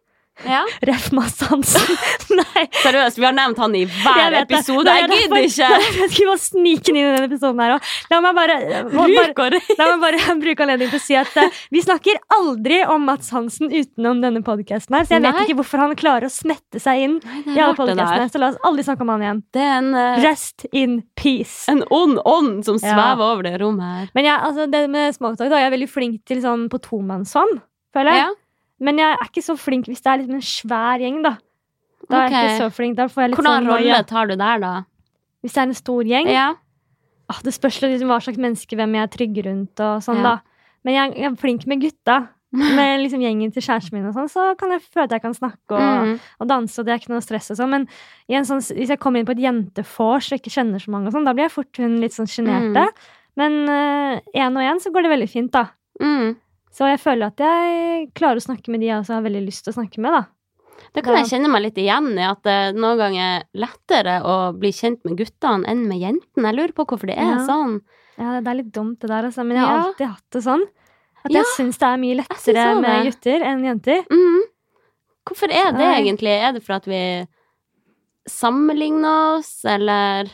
Ja.
Ref. Mads Hansen. (laughs) Nei.
Seriøst, vi har nevnt han i
Jeg
hver
vet det.
episode.
Det er
Jeg gidder
derfor- (laughs)
ikke!
Det er derfor Jeg skulle bare snike den inn i denne episoden her også. La meg bare, må bare
Ryk og reis.
La meg bare (laughs) bruke anledningen til å si at eh, vi snakker aldri om Mats Hansen utenom denne podkasten her, så jeg vet
Nei.
ikke hvorfor han klarer å smette seg inn i alle podcastene her, så la oss aldri snakke om han igjen.
Det er en eh,
Rest in peace.
(laughs) En ond ånd som
Ja.
svever over det rommet her.
Men jeg, altså, det med smaktak, da, jeg er veldig flink til sånn på tomannshånd, føler jeg.
Ja.
Men jeg er ikke så flink hvis det er liksom en svær gjeng, da. Da er
Ok.
jeg ikke så flink. Da får jeg litt
Hvordan
sånn
rolle
noia.
tar du der, da?
Hvis det er en stor gjeng,
Ja.
Ah, det spørs litt liksom hva slags menneske hvem jeg er trygg rundt. og sånn
Ja.
da. Men jeg, jeg er flink med gutta.
(laughs)
Med liksom gjengen til kjæresten min og sånn, så kan jeg føle at jeg kan snakke og,
Mm.
og danse. og det er ikke noe stress og sånn. Men i en sånn, hvis jeg kommer inn på et jentefors og ikke kjenner så mange, og sånn, da blir jeg fort hun litt sånn sjenerte. Men én og én så går det veldig fint, da.
Mm.
Så jeg føler at jeg klarer å snakke med de jeg også har veldig lyst til å snakke med. da.
Da kan
Ja.
jeg kjenne meg litt igjen i at det noen ganger er lettere å bli kjent med guttene enn med jentene. Jeg lurer på hvorfor det er
Ja.
sånn.
Ja, Det er litt dumt, det der, altså. men jeg har
Ja.
alltid hatt det sånn. At
Ja.
jeg syns det er mye
synes
lettere
også
med
det.
gutter enn jenter.
Mm. Hvorfor er det
Nei.
egentlig? Er det for at vi sammenligne oss, eller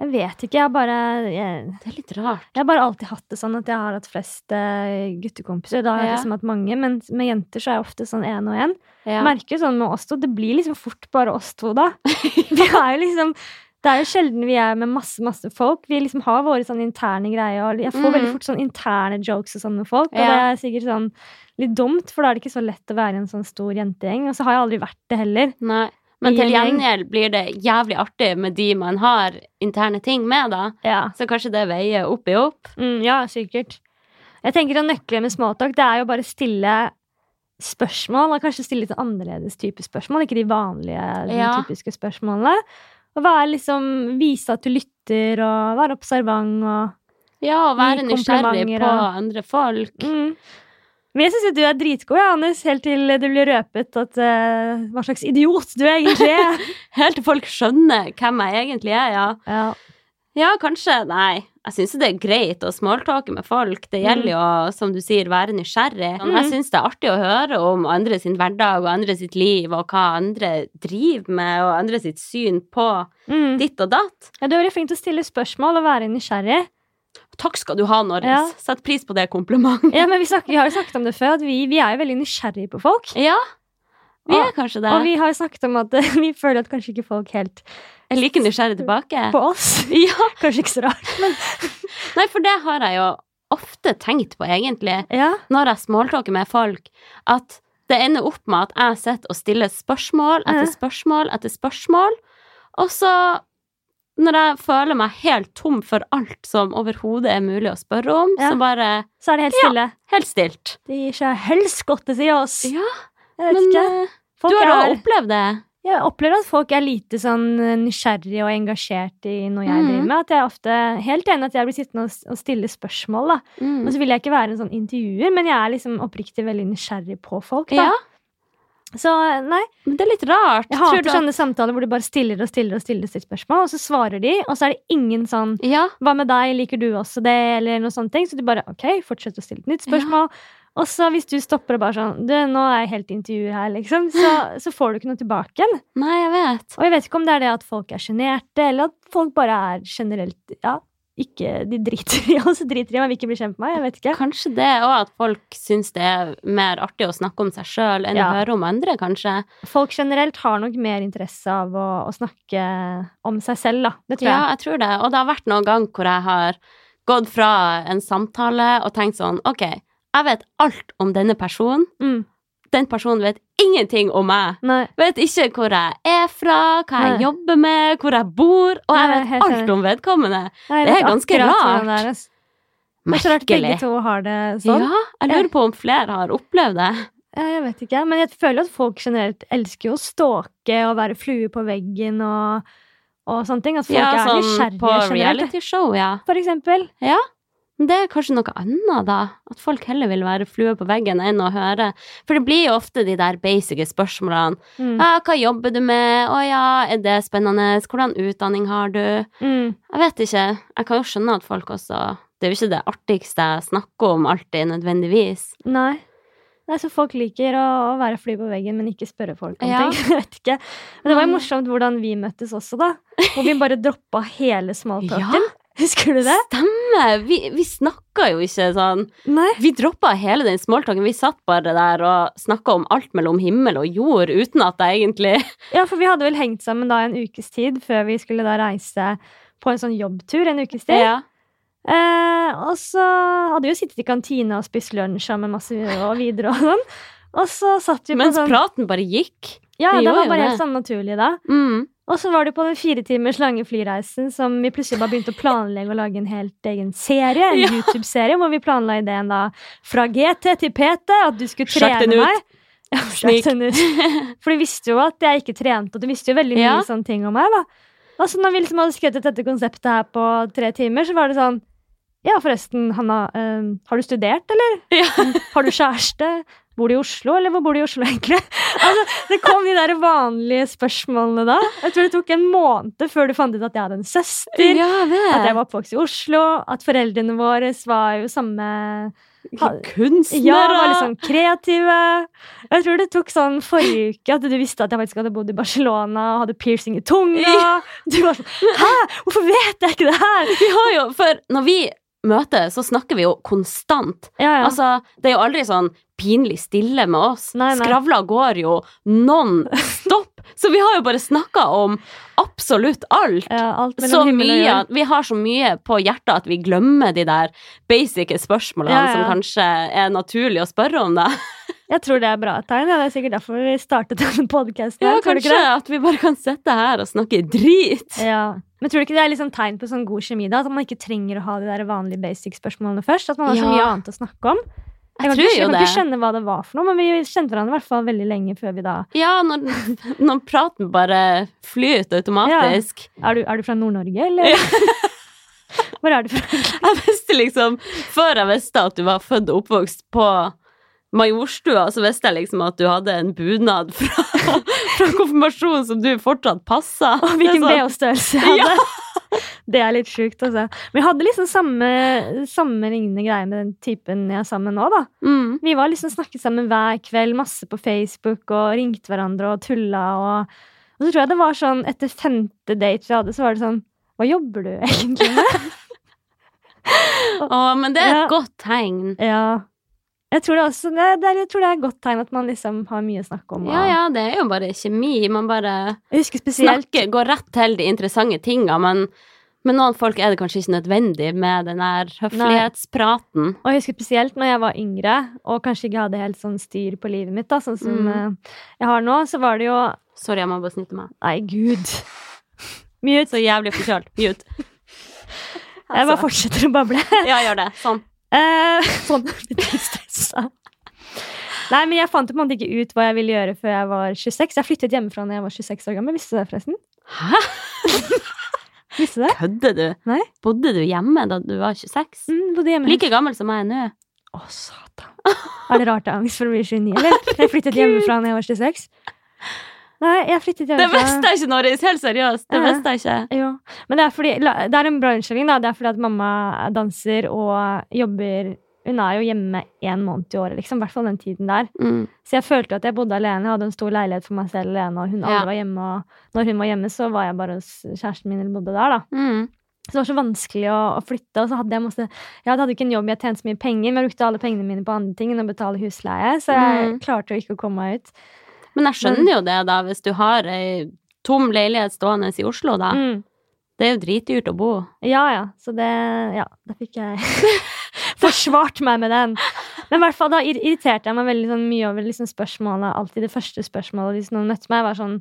Jeg vet ikke. Jeg har bare jeg,
Det er litt rart.
jeg har bare alltid hatt det sånn at jeg har hatt flest eh, guttekompiser. Da har jeg
Ja.
liksom hatt mange, men med jenter så er jeg ofte sånn én og én.
Ja.
Merker jo sånn med oss to. Det blir liksom fort bare oss
(laughs)
to da. Vi er jo liksom det er jo sjelden vi er med masse masse folk. Vi liksom har våre sånn interne greier. Og jeg får
Mhm.
veldig fort sånn interne jokes og sånn med folk. Og
Ja.
det er sikkert sånn litt dumt, for da er det ikke så lett å være i en sånn stor jentegjeng. Og så har jeg aldri vært det heller.
Nei. Men
I
til
en gjeng.
gjengjeld blir det jævlig artig med de man har interne ting med, da.
Ja,
Så kanskje det veier opp i opp.
mm, ja sikkert. Jeg tenker at Nøkkelen med småtalk det er jo bare stille spørsmål. Og kanskje stille litt annerledes type spørsmål. Ikke de vanlige de
Ja.
typiske spørsmålene. Og være liksom, Vise at du lytter, og være observant. og
Ja, å være
Gi
nysgjerrig
komplimenter
på
og-
andre folk.
Mm. Men jeg syns jo du er dritgod, ja, Anders, helt til det blir røpet at eh, hva slags idiot du egentlig er.
(laughs) Helt til folk skjønner hvem jeg egentlig er, ja.
ja.
Ja, kanskje. Nei. Jeg syns det er greit å smalltalke med folk. Det gjelder jo, som du sier, være nysgjerrig.
Mm.
Jeg syns det er artig å høre om andre sin hverdag og andre sitt liv, og hva andre driver med, og andre sitt syn på
Mm.
ditt og datt.
ja, Du er veldig flink til å stille spørsmål og være nysgjerrig.
Takk skal du ha, Norris.
Ja.
Sett pris på det
(laughs)
komplimentet.
Ja, men vi, snakker, vi har jo snakket om det før, at vi, vi er jo veldig nysgjerrige på folk.
Ja, vi er kanskje det.
Ah. Og vi har jo snakket om at eh, (laughs) vi føler at kanskje ikke folk helt
Jeg er like nysgjerrig tilbake.
på oss.
(laughs) Ja.
(laughs) Kanskje ikke så rart.
(laughs) Nei, for det har jeg jo ofte tenkt på, egentlig.
Ja,
når jeg smalltalker med folk, at det ender opp med at jeg sitter og stiller spørsmål etter
Ja.
spørsmål etter spørsmål, og så når jeg føler meg helt tom for alt som overhodet er mulig å spørre om,
Ja.
så bare
Så er det helt stille.
helt stilt.
Det gir seg helst godt å si oss.
Ja,
Jeg vet
men
ikke.
eh,
Folk
du har
er-
også opplevd det.
Jeg opplever at folk er lite sånn eh, nysgjerrig og engasjert i noe jeg
Mhm.
driver med. At jeg er ofte helt enig at jeg blir sittende og s- og stille spørsmål. da.
Mm.
Og så vil jeg ikke være en sånn intervjuer, men jeg er liksom oppriktig veldig nysgjerrig på folk. da.
Ja,
Så eh, nei,
men det er litt rart.
jeg
Tror du
hater
at-
sånne samtaler hvor du bare stiller og stiller og stiller sitt spørsmål, og så svarer de, og så er det ingen sånn
Ja,
hva med deg, liker du også det, eller noe sånt. ting. Så du bare ok, fortsett å stille et nytt spørsmål. Og så hvis du stopper og bare sånn du, nå er jeg helt intervjuer her,
(laughs)
liksom, så, så får du ikke noe tilbake igjen.
nei, jeg vet.
Og jeg vet ikke om det er det at folk er sjenerte, eller at folk bare er generelt ja, ikke, De driter i (laughs) oss, driter i om jeg vil ikke bli kjent med meg. Jeg vet ikke.
Kanskje det òg at folk syns det er mer artig å snakke om seg sjøl enn
Ja.
å høre om andre, kanskje.
Folk generelt har nok mer interesse av å, å snakke om seg selv, da. Det tror
Ja, jeg
jeg.
tror det. Og det har vært noen gang hvor jeg har gått fra en samtale og tenkt sånn Ok, jeg vet alt om denne personen.
Mm.
Den personen vet ingenting om meg.
Nei.
Vet ikke hvor jeg er fra, hva jeg
Nei.
jobber med, hvor jeg bor, og jeg
Nei,
vet
helt
alt
enig.
om vedkommende.
Nei, jeg
Det er
vet
ganske
akkurat
rart.
hvordan Det er, ass. Det er så rart begge
Merkelig.
to har det sånn.
Ja, jeg lurer på om flere har opplevd det.
Ja, jeg vet ikke. Men jeg føler at folk generelt elsker jo å stalke og være flue på veggen og, og sånne ting. At folk
Ja,
er
sånn på
nysgjerrige generelt,
realityshow, ja.
for eksempel.
Men det er kanskje noe annet, da. At folk heller vil være flue på veggen enn å høre. For det blir jo ofte de der basice spørsmålene.
Mm.
Ja, hva jobber du med? Å ja, er det spennende? Hvordan utdanning har du?
Mm.
Jeg vet ikke. Jeg kan jo skjønne at folk også Det er jo ikke det artigste jeg snakker om alltid, nødvendigvis.
Nei. Nei, så folk liker å, å være fly på veggen, men ikke spørre folk om
Ja.
ting. (laughs) Jeg vet ikke. Men det var jo
Mm.
morsomt hvordan vi møttes også, da. Hvor vi bare droppa hele smalltalken. (laughs) Husker du det?
Stemmer! Vi, vi snakka jo ikke sånn.
Nei.
Vi droppa hele den smalltalken. Vi satt bare der og snakka om alt mellom himmel og jord uten at jeg egentlig
(laughs) Ja, for vi hadde vel hengt sammen da en ukes tid før vi skulle da reise på en sånn jobbtur en ukes tid.
ja.
Eh, og så hadde vi jo sittet i kantina og spist lunsj sammen masse og videre og sånn. Og så satt vi på
Mens
sånn
praten bare gikk.
Ja,
vi
det
gjorde
var
jo
bare helt
det.
sånn naturlig da.
(laughs) Mm.
Og så var det på den fire timers lange flyreisen som vi plutselig bare begynte å planlegge å lage en helt egen serie. En
(laughs) Ja.
YouTube-serie hvor vi planla ideen da fra GT til PT, at du skulle
Sjakk
trene
den ut.
meg. Ja,
Snik.
sjakk den ut. For du visste jo at jeg ikke trente, og du visste jo veldig mye
Ja.
sånne ting om meg. da. Og så når vi liksom hadde skrevet ut dette konseptet her på tre timer, så var det sånn Ja, forresten, Hanna, eh, har du studert, eller?
(laughs) Ja.
Har du kjæreste? Bor du i Oslo, eller hvor bor du i Oslo, egentlig? (laughs) Altså, det kom de der vanlige spørsmålene da. Jeg tror det tok en måned før du fant ut at jeg hadde en søster,
Ja, jeg
at jeg
vet.
var oppvokst i Oslo, at foreldrene våre var jo samme Ha-
Kunstnere!
Ja, var litt sånn kreative. Jeg tror det tok sånn forrige uke at du visste at jeg faktisk hadde bodd i Barcelona og hadde piercing i tunga.
Ja.
Du var sånn Hæ, hvorfor vet jeg ikke det her?
Vi har jo, for når vi møtes, så snakker vi jo konstant.
Ja, ja.
Altså, det er jo aldri sånn pinlig stille med oss.
Nei, nei.
Skravla går jo non stop. så vi har jo bare snakka om absolutt alt.
ja, alt
Så
mellom himmel og
mye,
jord.
at- vi har så mye på hjertet at vi glemmer de der basic spørsmålene
Ja, ja.
som kanskje er naturlig å spørre om. Det.
Jeg tror det er bra tegn. ja. Det er sikkert derfor vi startet denne podkasten.
Ja, kanskje at vi bare kan sitte her og snakke drit.
Ja. Men tror du ikke det er liksom tegn på sånn god kjemi? da At man ikke trenger å ha de der vanlige basic-spørsmålene først? At man har
Ja.
så mye annet å snakke om? Jeg,
Jeg
kan ikke,
tror
jeg
jo
kan
det.
ikke skjønne hva det var for noe, men vi kjente hverandre i hvert fall veldig lenge før vi da
Ja, når, (laughs) når praten bare flyter automatisk.
Er du, er du fra Nord-Norge, eller? (laughs) Hvor er du fra?
Jeg visste liksom, Før jeg visste at du var født og oppvokst på Majorstua, så visste jeg liksom at du hadde en bunad fra, (laughs) fra konfirmasjonen som du fortsatt passa.
Og
Det er
hvilken
sånn-
BH-størrelse jeg hadde? (laughs) Det er litt sjukt, altså. Men jeg hadde liksom samme, samme lignende greie med den typen jeg er sammen med nå, da.
Mm.
Vi var liksom snakket sammen hver kveld, masse på Facebook, og ringte hverandre og tulla og Og så tror jeg det var sånn etter femte date vi hadde, så var det sånn Hva jobber du egentlig
(laughs)
med?
Å, men det er et
Ja.
godt tegn.
ja. Jeg tror det, også, det, det, jeg tror det er et godt tegn at man liksom har mye å snakke om. og-
Ja, ja, det er jo bare kjemi. Man bare
Jeg husker spesielt
snakker, går rett til de interessante tinga, men med noen folk er det kanskje ikke nødvendig med den der høflighetspraten.
Og jeg husker spesielt når jeg var yngre og kanskje ikke hadde helt sånn styr på livet mitt, da, sånn som
Mm.
eh, jeg har nå, så var det jo
Sorry, jeg må bare snitte meg.
Nei, gud. Mute.
Så jævlig forkjølt. Mute.
Jeg bare
(laughs) Altså.
fortsetter å bable. (laughs)
Ja, gjør det. Sånn.
Eh, sånn (laughs) litt stressa. Nei, men jeg fant jo på en måte ikke ut hva jeg ville gjøre før jeg var 26. Jeg flyttet hjemmefra når jeg var 26 år gammel. Visste du det, forresten?
Hæ?
(laughs) Visste du det?
Kødder du?
Nei.
Bodde du hjemme da du var 26?
Mm, bodde hjemme.
Like gammel som jeg er nå.
Å, (laughs) satan. Er det rart jeg har angst for å bli 29, eller? Jeg flyttet hjemmefra når jeg var 26. Nei, jeg flyttet
Det
hjemmefra
visste jeg ikke, Norris! Helt seriøst. Det
Ja.
visste jeg ikke.
Jo. Men det er, fordi, la- det er en bra unnskyldning. da. Det er fordi at mamma danser og jobber Hun er jo hjemme én måned i året, liksom. I hvert fall den tiden der.
Mm.
Så jeg følte jo at jeg bodde alene. Jeg hadde en stor leilighet for meg selv alene, og hun
Ja.
aldri var hjemme. Og når hun var hjemme, så var jeg bare hos kjæresten min eller bodde der, da.
Mm.
Så det var så vanskelig å, å flytte. Og så hadde jeg masse Jeg hadde ikke en jobb, jeg tjente så mye penger, men jeg brukte alle pengene mine på andre ting enn å betale husleie, så jeg
Mm.
klarte jo ikke å komme meg ut.
Men jeg skjønner jo det, da, hvis du har ei tom leilighet stående i Oslo, da.
Mm.
Det er jo dritdyrt å bo.
Ja, ja. Så det Ja, da fikk jeg (laughs) forsvart meg med den. Men i hvert fall da ir- irriterte jeg meg veldig sånn mye over liksom spørsmålet. Alltid det første spørsmålet hvis noen møtte meg, var sånn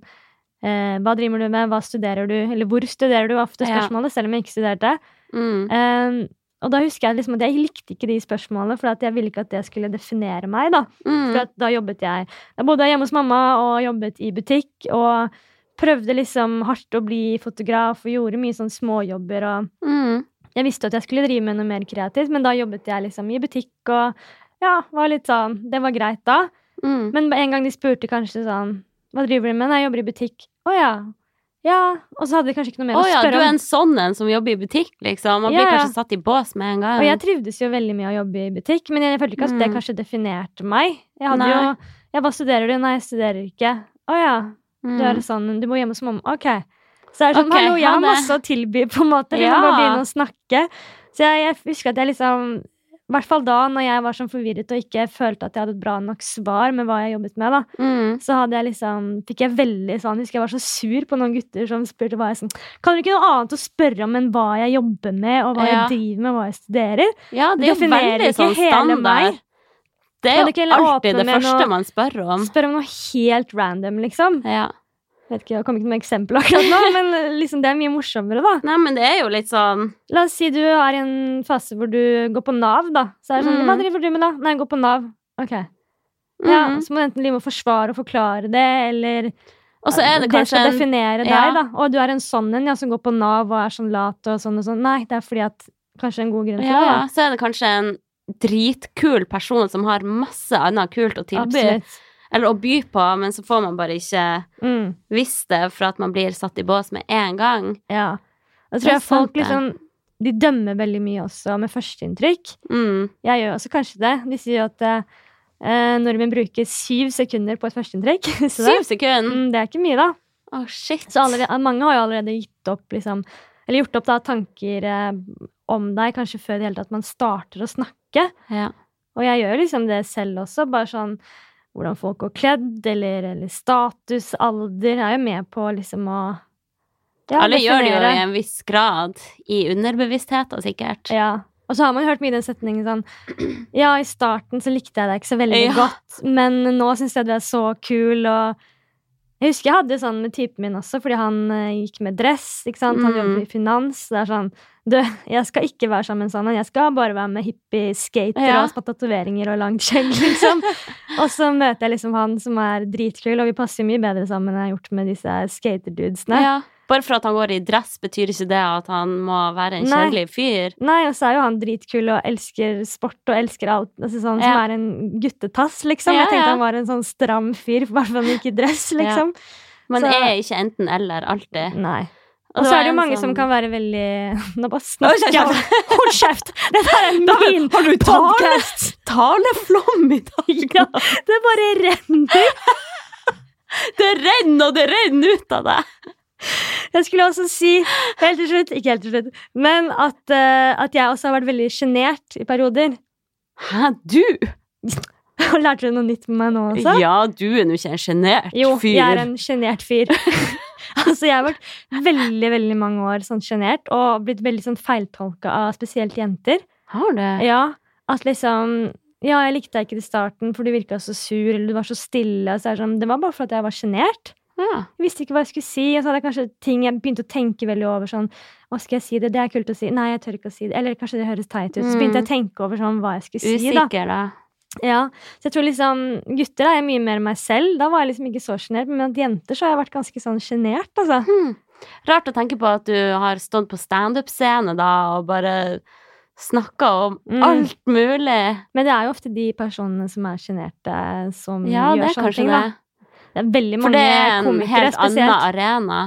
eh, Hva driver du med? Hva studerer du? Eller hvor studerer du? var Ofte
Ja.
spørsmålet, selv om jeg ikke studerte.
Mm.
Eh, og da husker jeg liksom at jeg likte ikke de spørsmålene, for at jeg ville ikke at det skulle definere meg. da.
Mm.
For at da jobbet jeg Da bodde jeg hjemme hos mamma og jobbet i butikk. Og prøvde liksom hardt å bli fotograf og gjorde mye sånn småjobber. og
Mm.
jeg visste at jeg skulle drive med noe mer kreativt, men da jobbet jeg liksom i butikk og ja, var litt sånn Det var greit da.
Mm.
Men en gang de spurte kanskje sånn Hva driver du med? Nei, jeg jobber i butikk. Å ja. Ja. Og så hadde de kanskje ikke noe mer
Å
å
ja, du er
spørre om.
en sånn en som jobber i butikk, liksom. Man blir
Ja, ja.
kanskje satt i bås med en gang.
Og jeg trivdes jo veldig med å jobbe i butikk, men jeg følte ikke at det
Mm.
kanskje definerte meg. Jeg hadde
Nei.
jo Ja, hva studerer du? Nei, jeg studerer ikke. Å ja. Du er
mm.
sånn Du må hjemme hos mamma. Ok. Så er det sånn
Ok,
Hallo, jeg
ha
har
det.
masse å tilby, på en måte. Liksom,
Ja.
Bare begynne å snakke. Så jeg, jeg husker at jeg liksom I hvert fall da, når jeg var sånn forvirret og ikke følte at jeg hadde et bra nok svar med hva jeg jobbet med, da,
Mm.
så hadde jeg liksom Fikk jeg veldig sånn Husker jeg var så sur på noen gutter som spurte hva jeg sånn Kan dere ikke noe annet å spørre om enn hva jeg jobber med, og hva
Ja.
jeg driver med, hva jeg studerer?
Ja, det er jo
Definerer
veldig
ikke
sånn
hele
standard.
meg.
Det
Kan
er
du ikke
jo
heller åpne
alltid det
med
første
noe-
man spør om.
Spør om noe helt random, liksom.
Ja.
Vet ikke, Jeg kom ikke med eksempel akkurat nå, men liksom, det er mye morsommere, da.
Nei, men det er jo litt sånn
La oss si du er i en fase hvor du går på Nav, da. Så er det sånn,
Mm.
hva driver du med da? Nei, jeg går på Nav. Ok.
mm.
Ja, så må du enten liksom forsvare og forklare det, eller
Og så er det kanskje
skal
en
definere
ja.
deg, da. Og du er en sånn en ja, som går på Nav og er sånn lat og sånn og sånn. Nei, det er fordi at Kanskje en god grunn til
ja, ja, så er det kanskje en dritkul person som har masse annet kult å
det. da.
tilby,
Absolutt.
eller å by på, men så får man bare ikke
Mm,
visst det for at man blir satt i bås med en gang.
ja. Da
Det er
tror jeg folk
sant, det.
liksom de dømmer veldig mye også med førsteinntrykk.
Mm.
Jeg gjør også kanskje det. De sier at eh, nordmenn bruker syv sekunder på et førsteinntrykk. (laughs) Visste du det?
Syv sekunder! Å,
Mm, det er ikke mye, da.
shit.
Så allerede, mange har jo allerede gitt opp, liksom, eller gjort opp da, tanker eh, om deg, kanskje før i det hele tatt man starter å snakke.
Ja.
Og jeg gjør liksom det selv også, bare sånn hvordan folk går kledd, eller, eller status, alder. Jeg er jo med på liksom å ja,
Alle gjør det jo
definere.
i en viss grad i underbevisstheten, sikkert.
Ja. Og så har man hørt mye den setningen sånn (clears throat) Ja, i starten så likte jeg deg ikke så veldig
Ja.
godt, men nå syns jeg du er så kul, og Jeg husker jeg hadde sånn med typen min også, fordi han eh, gikk med dress, ikke sant. Han
Mm.
jobbet i finans. Det er sånn Du, jeg skal ikke være sammen med en sånn en. Jeg skal bare være med hippie-skater
Ja.
og ha tatoveringer og langt skjegg,
(laughs)
liksom. og så møter jeg liksom han som er dritkul, og vi passer mye bedre sammen enn jeg har gjort med disse skaterdudesene.
Ja. Bare for at han går i dress, betyr ikke det at han må være en
Nei.
kjedelig fyr.
Nei, og så er jo han dritkul og elsker sport og elsker alt. Altså sånn som
Ja.
er en guttetass, liksom.
Ja,
jeg tenkte
ja.
han var en sånn stram fyr, (laughs) i hvert fall han gikk i dress, liksom.
Man
Så-
er ikke enten eller alltid.
Nei. Og så er det jo mange som kan være veldig (laughs) Nå bare snakker
sånn- Oi,
jeg! Hold kjeft! Dette her er min
Har du
podcast!
taleflom i
Ja, det bare renner.
Det renner og det renner ut av deg!
Jeg skulle også si, helt til slutt, ikke helt til slutt, men at, eh, at jeg også har vært veldig sjenert i perioder. (laughs)
Hæ, du?
Lærte du noe nytt med meg nå også?
Ja, du er nå ikke en sjenert fyr.
Jo, jeg er en sjenert fyr. (laughs) altså, jeg har vært veldig veldig mange år sånn sjenert og blitt veldig sånn feiltolka av spesielt jenter.
Har du?
Ja, At liksom Ja, jeg likte deg ikke til starten, for du virka så sur, eller du var så stille. Og så er det sånn, det var bare for at jeg var sjenert.
Ja.
Jeg visste ikke hva jeg skulle si. Og så hadde jeg kanskje ting jeg begynte å tenke veldig over. sånn, Hva skal jeg si? Det Det er kult å si. Nei, jeg tør ikke å si det. Eller kanskje det høres teit ut. Så
Mm.
begynte jeg å tenke over sånn, hva jeg skulle si. da.
Usikker, da.
Ja, så jeg tror liksom Gutter er jeg mye mer meg selv. Da var jeg liksom ikke så sjenert. Men at jenter så har jeg vært ganske sånn sjenert, altså.
Hmm. Rart å tenke på at du har stått på standup-scene da og bare snakka om
Mm.
alt mulig.
Men det er jo ofte de personene som er sjenerte, som
Ja, det
gjør
er
sånne
kanskje
ting,
det.
da. Det er veldig
For
mange
det er en
komikere
helt annen
spesielt.
arena.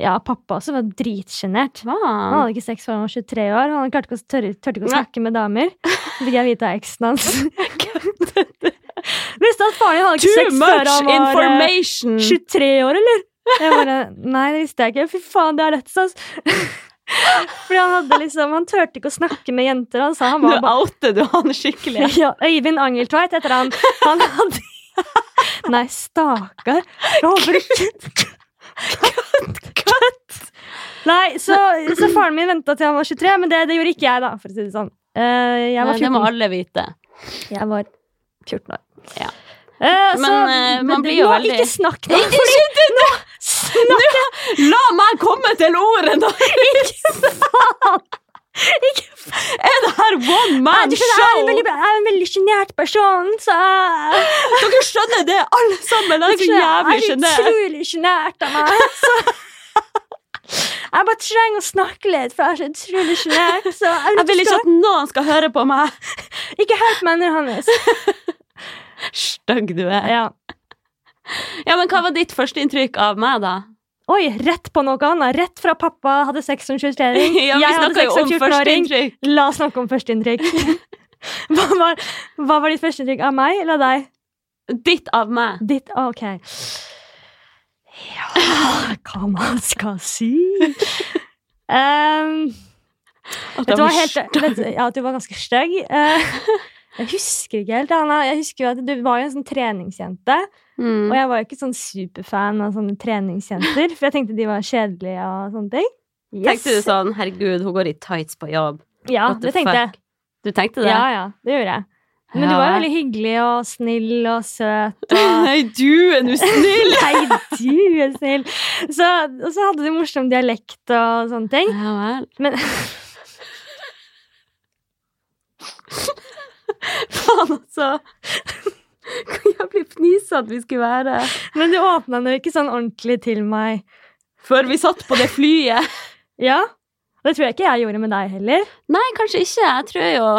Ja, pappa også var dritsjenert.
Hva?
Han hadde ikke sex før han var 23 år. Han klarte ikke å, tørre, tørte ikke å
Nei.
snakke med damer. Så fikk jeg vite av eksen hans.
(laughs)
(laughs) Visste at faren din hadde ikke sex før han var eh, 23 år, eller? Jeg bare, Nei, det visste jeg ikke. Fy faen, det er rett,
(laughs)
ass. Fordi han hadde liksom Han turte ikke å snakke med jenter. Han sa han
Nå
var bare
outer du han skikkelig. (laughs)
ja, Øyvind Angeltveit heter han. Han hadde (laughs) Nei, stakkar. Jeg håper ikke
(laughs)
Kutt! Nei, så, så faren min venta til han var 23, men det, det gjorde ikke jeg, da, for å si det sånn. Eh, jeg
Nei,
var
det må
14.
alle vite.
Jeg var 14 år.
Ja.
Eh, så,
Men, eh, man
det-
blir jo
nå,
veldig-
Ikke snakk nå! Fordi, nå snakk
La meg komme til ordet, (laughs) da!
ikke faen!
Er det her one
Nei,
man
du skjønner, jeg er en
show?
veldig, jeg er en veldig sjenert person, så jeg-
Dere skjønner det, alle sammen. Det er så
jeg er
jævlig sjenert.
utrolig sjenert av meg.
(laughs)
Så. Jeg bare trenger å snakke litt, for jeg er så utrolig sjenert. Så jeg
Jeg vil ikke at noen skal høre på meg.
skal- ikke helt mener hans.
Stygg du er.
Ja.
Ja, men Hva var ditt førsteinntrykk av meg, da?
Oi, rett på noe annet. Rett fra pappa hadde sex som
(laughs)
23-åring.
Ja, Vi
jeg hadde
snakka
sex
jo
som
om
14-åring.
førsteinntrykk.
La oss snakke om førsteinntrykk.
(laughs)
Hva var, hva var ditt førsteinntrykk av meg eller av deg?
Ditt av meg.
Ditt ah, OK. Ja Hva man skal si? Um,
At jeg
Vet du, hva,
var
helt,
stygg.
vet, du- ja, at du var ganske stygg. Eh, Jeg husker ikke helt, Anna. Jeg husker jo at Du var jo en sånn treningsjente. Og
Mm.
jeg var jo ikke sånn superfan av sånne treningsjenter, for jeg tenkte de var kjedelige og sånne ting.
Tenkte du sånn 'herregud, hun går i tights på jobb'?
Ja,
What the
det tenkte jeg.
fuck? Du tenkte det?
Ja, ja, det gjorde jeg. Men du
Ja,
var jo
vel.
veldig hyggelig og snill og søt og
Nei, du er nå snill!
Nei, du er snill! Så, og så hadde du morsom dialekt og sånne ting.
Ja vel.
Men
Faen, altså. Hvor jævlig fnisete vi skulle være.
Men du åpna den jo ikke sånn ordentlig til meg.
Før vi satt på det flyet.
Ja? Og det tror jeg ikke jeg gjorde med deg heller.
Nei, kanskje ikke. Jeg tror jo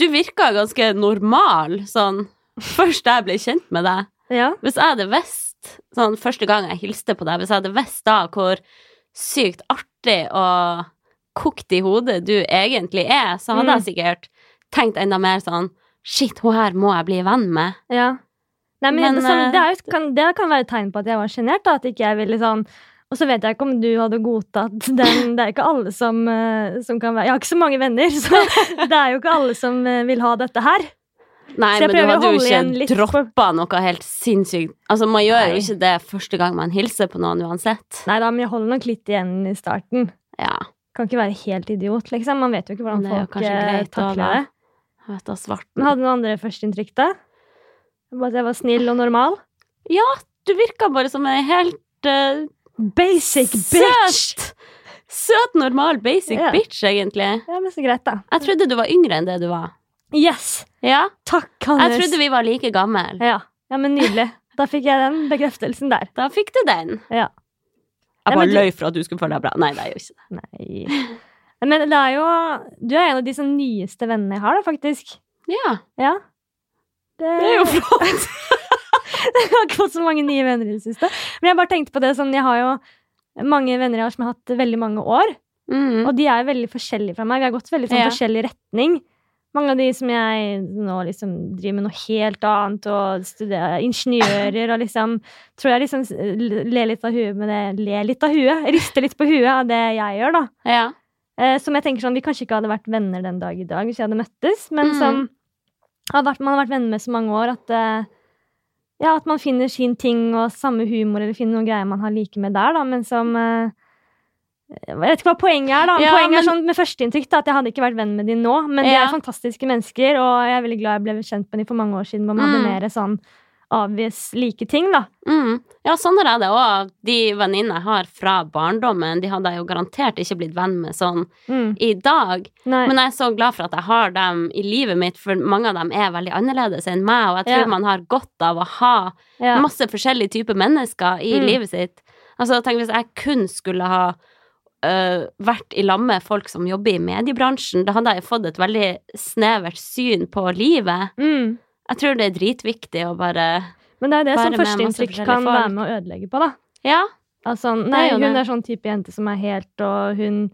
Du virka ganske normal sånn først da jeg ble kjent med deg.
Ja.
Hvis jeg hadde visst sånn første gang jeg hilste på deg, hvis jeg hadde visst da hvor sykt artig og kokt i hodet du egentlig er, så hadde
Mm.
jeg sikkert tenkt enda mer sånn Shit, hun her må jeg bli venn med.
Ja. Nei, men,
Men,
det, samme,
eh,
det, er jo, kan, det kan være et tegn på at jeg var sjenert. At ikke jeg ville sånn Og så vet jeg ikke om du hadde godtatt den. Det er ikke alle som, eh, som kan være Jeg har ikke så mange venner, så det er jo ikke alle som eh, vil ha dette her.
Nei,
Så jeg
men du
prøver å
hadde jo
holde igjen litt
ikke droppa noe helt sinnssykt. Altså, man gjør
Nei.
jo ikke det første gang man hilser på noen uansett.
Nei da, men jeg holder nok litt igjen i starten.
Ja.
Kan ikke være helt idiot, liksom. Man vet jo ikke hvordan
Men det er jo
folk
kanskje
eh,
greit å
takler
la-
det.
Jeg vet da,
Men
svarten.
hadde du noen andre førsteinntrykk, da? Bare at jeg var snill og normal?
Ja, du virka bare som en helt eh,
Basic bitch!
søt Søt, normal, basic
Ja.
bitch, egentlig.
Ja, men så greit, da.
Jeg trodde du var yngre enn det du var.
Yes!
Ja.
Takk, Hannes.
Jeg trodde vi var like gammel.
ja. ja, men nydelig. Da fikk jeg den bekreftelsen der.
Da fikk du den.
Ja.
Jeg
Nei,
bare
men du-
løy for at du skulle føle deg bra. Nei, det er jo ikke det.
Nei. Men det er jo Du er en av de sånn nyeste vennene jeg har, da, faktisk.
Ja,
Ja. Det,
det er
(laughs)
jo flott.
Jeg har ikke fått så mange nye venner i det siste. Men jeg bare tenkte på det sånn, jeg har jo mange venner jeg har som jeg har hatt veldig mange år.
Mm.
Og de er veldig forskjellige fra meg. Vi har gått veldig sånn
Ja.
forskjellig retning. Mange av de som jeg nå liksom driver med noe helt annet og studerer ingeniører og liksom Tror jeg liksom s- ler litt av huet med det Le litt av huet. Rister litt på huet av det jeg gjør, da.
Ja.
Eh, som jeg tenker sånn, Vi kanskje ikke hadde vært venner den dag i dag hvis vi hadde møttes, men
Mm.
som har vært, man har vært venner med så mange år at eh, ja, at man finner sin ting og samme humor eller finner noen greier man har like med der, da, men som eh, Jeg vet ikke hva poenget er, da.
Ja,
poenget er
men-
sånn med førsteinntrykk da, at jeg hadde ikke vært venn med de nå, men de
Ja.
er fantastiske mennesker, og jeg er veldig glad jeg ble kjent med de for mange år siden hvor man
Mm.
hadde mer sånn obvious like ting, da.
Mm. Ja, sånn er det òg. De venninnene jeg har fra barndommen, de hadde jeg jo garantert ikke blitt venn med sånn
Mm.
i dag.
Nei.
Men jeg er så glad for at jeg har dem i livet mitt, for mange av dem er veldig annerledes enn meg, og jeg tror
Ja.
man har godt av å ha
ja.
masse forskjellige typer mennesker i
Mm.
livet sitt. Altså, tenk hvis jeg kun skulle ha øh, vært i lag med folk som jobber i mediebransjen, da hadde jeg fått et veldig snevert syn på livet.
Mm.
Jeg tror det er dritviktig å bare
Men det er det
Bare
som
med masse
førsteinntrykk
forskjellige
kan
folk.
være med å ødelegge på, da.
Ja.
Altså, nei,
jo
hun
det.
er sånn type jente som er helt, og hun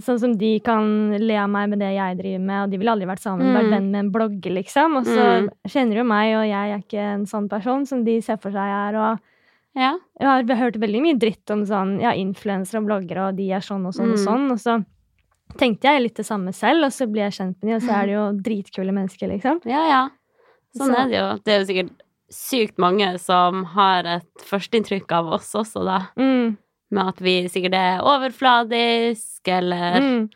Sånn som de kan le av meg med det jeg driver med, og de ville aldri vært sammen.
Mm.
Vært venn med en blogger, liksom. Og så
Mm.
kjenner de jo meg, og jeg er ikke en sånn person som de ser for seg jeg er. Og
ja.
jeg har hørt veldig mye dritt om sånn Ja, influensere og bloggere, og de er sånn og sånn og
Mm.
sånn. Og så tenkte jeg litt det samme selv, og så blir jeg kjent med de, og så er det jo
Mm.
dritkule mennesker, liksom.
Ja, ja. Sånn
Så-
er det jo. Det er jo sikkert sykt mange som har et førsteinntrykk av oss også, da.
Mm.
Med at vi sikkert er overfladisk, eller
Mm.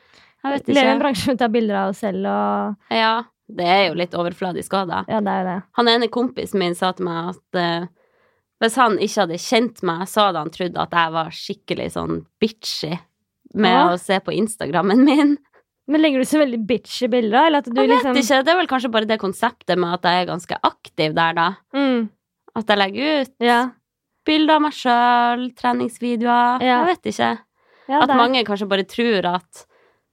Jeg vet
Lever i en
ikke.
bransje hvor vi tar bilder av oss selv, og
Ja. Det er jo litt overfladisk òg, da.
Ja, det er jo det.
Han ene kompisen min sa til meg at eh, hvis han ikke hadde kjent meg, så hadde han trodd at jeg var skikkelig sånn bitchy med
Ja.
å se på Instagrammen min.
Sånn. Men legger du så veldig bitchy bilder, eller at du
Jeg
liksom
vet ikke, Det er vel kanskje bare det konseptet med at jeg er ganske aktiv der, da.
Mm,
At jeg legger ut
ja.
bilder av meg sjøl, treningsvideoer
Ja.
Jeg vet ikke.
ja
at
det, er-
mange kanskje bare tror at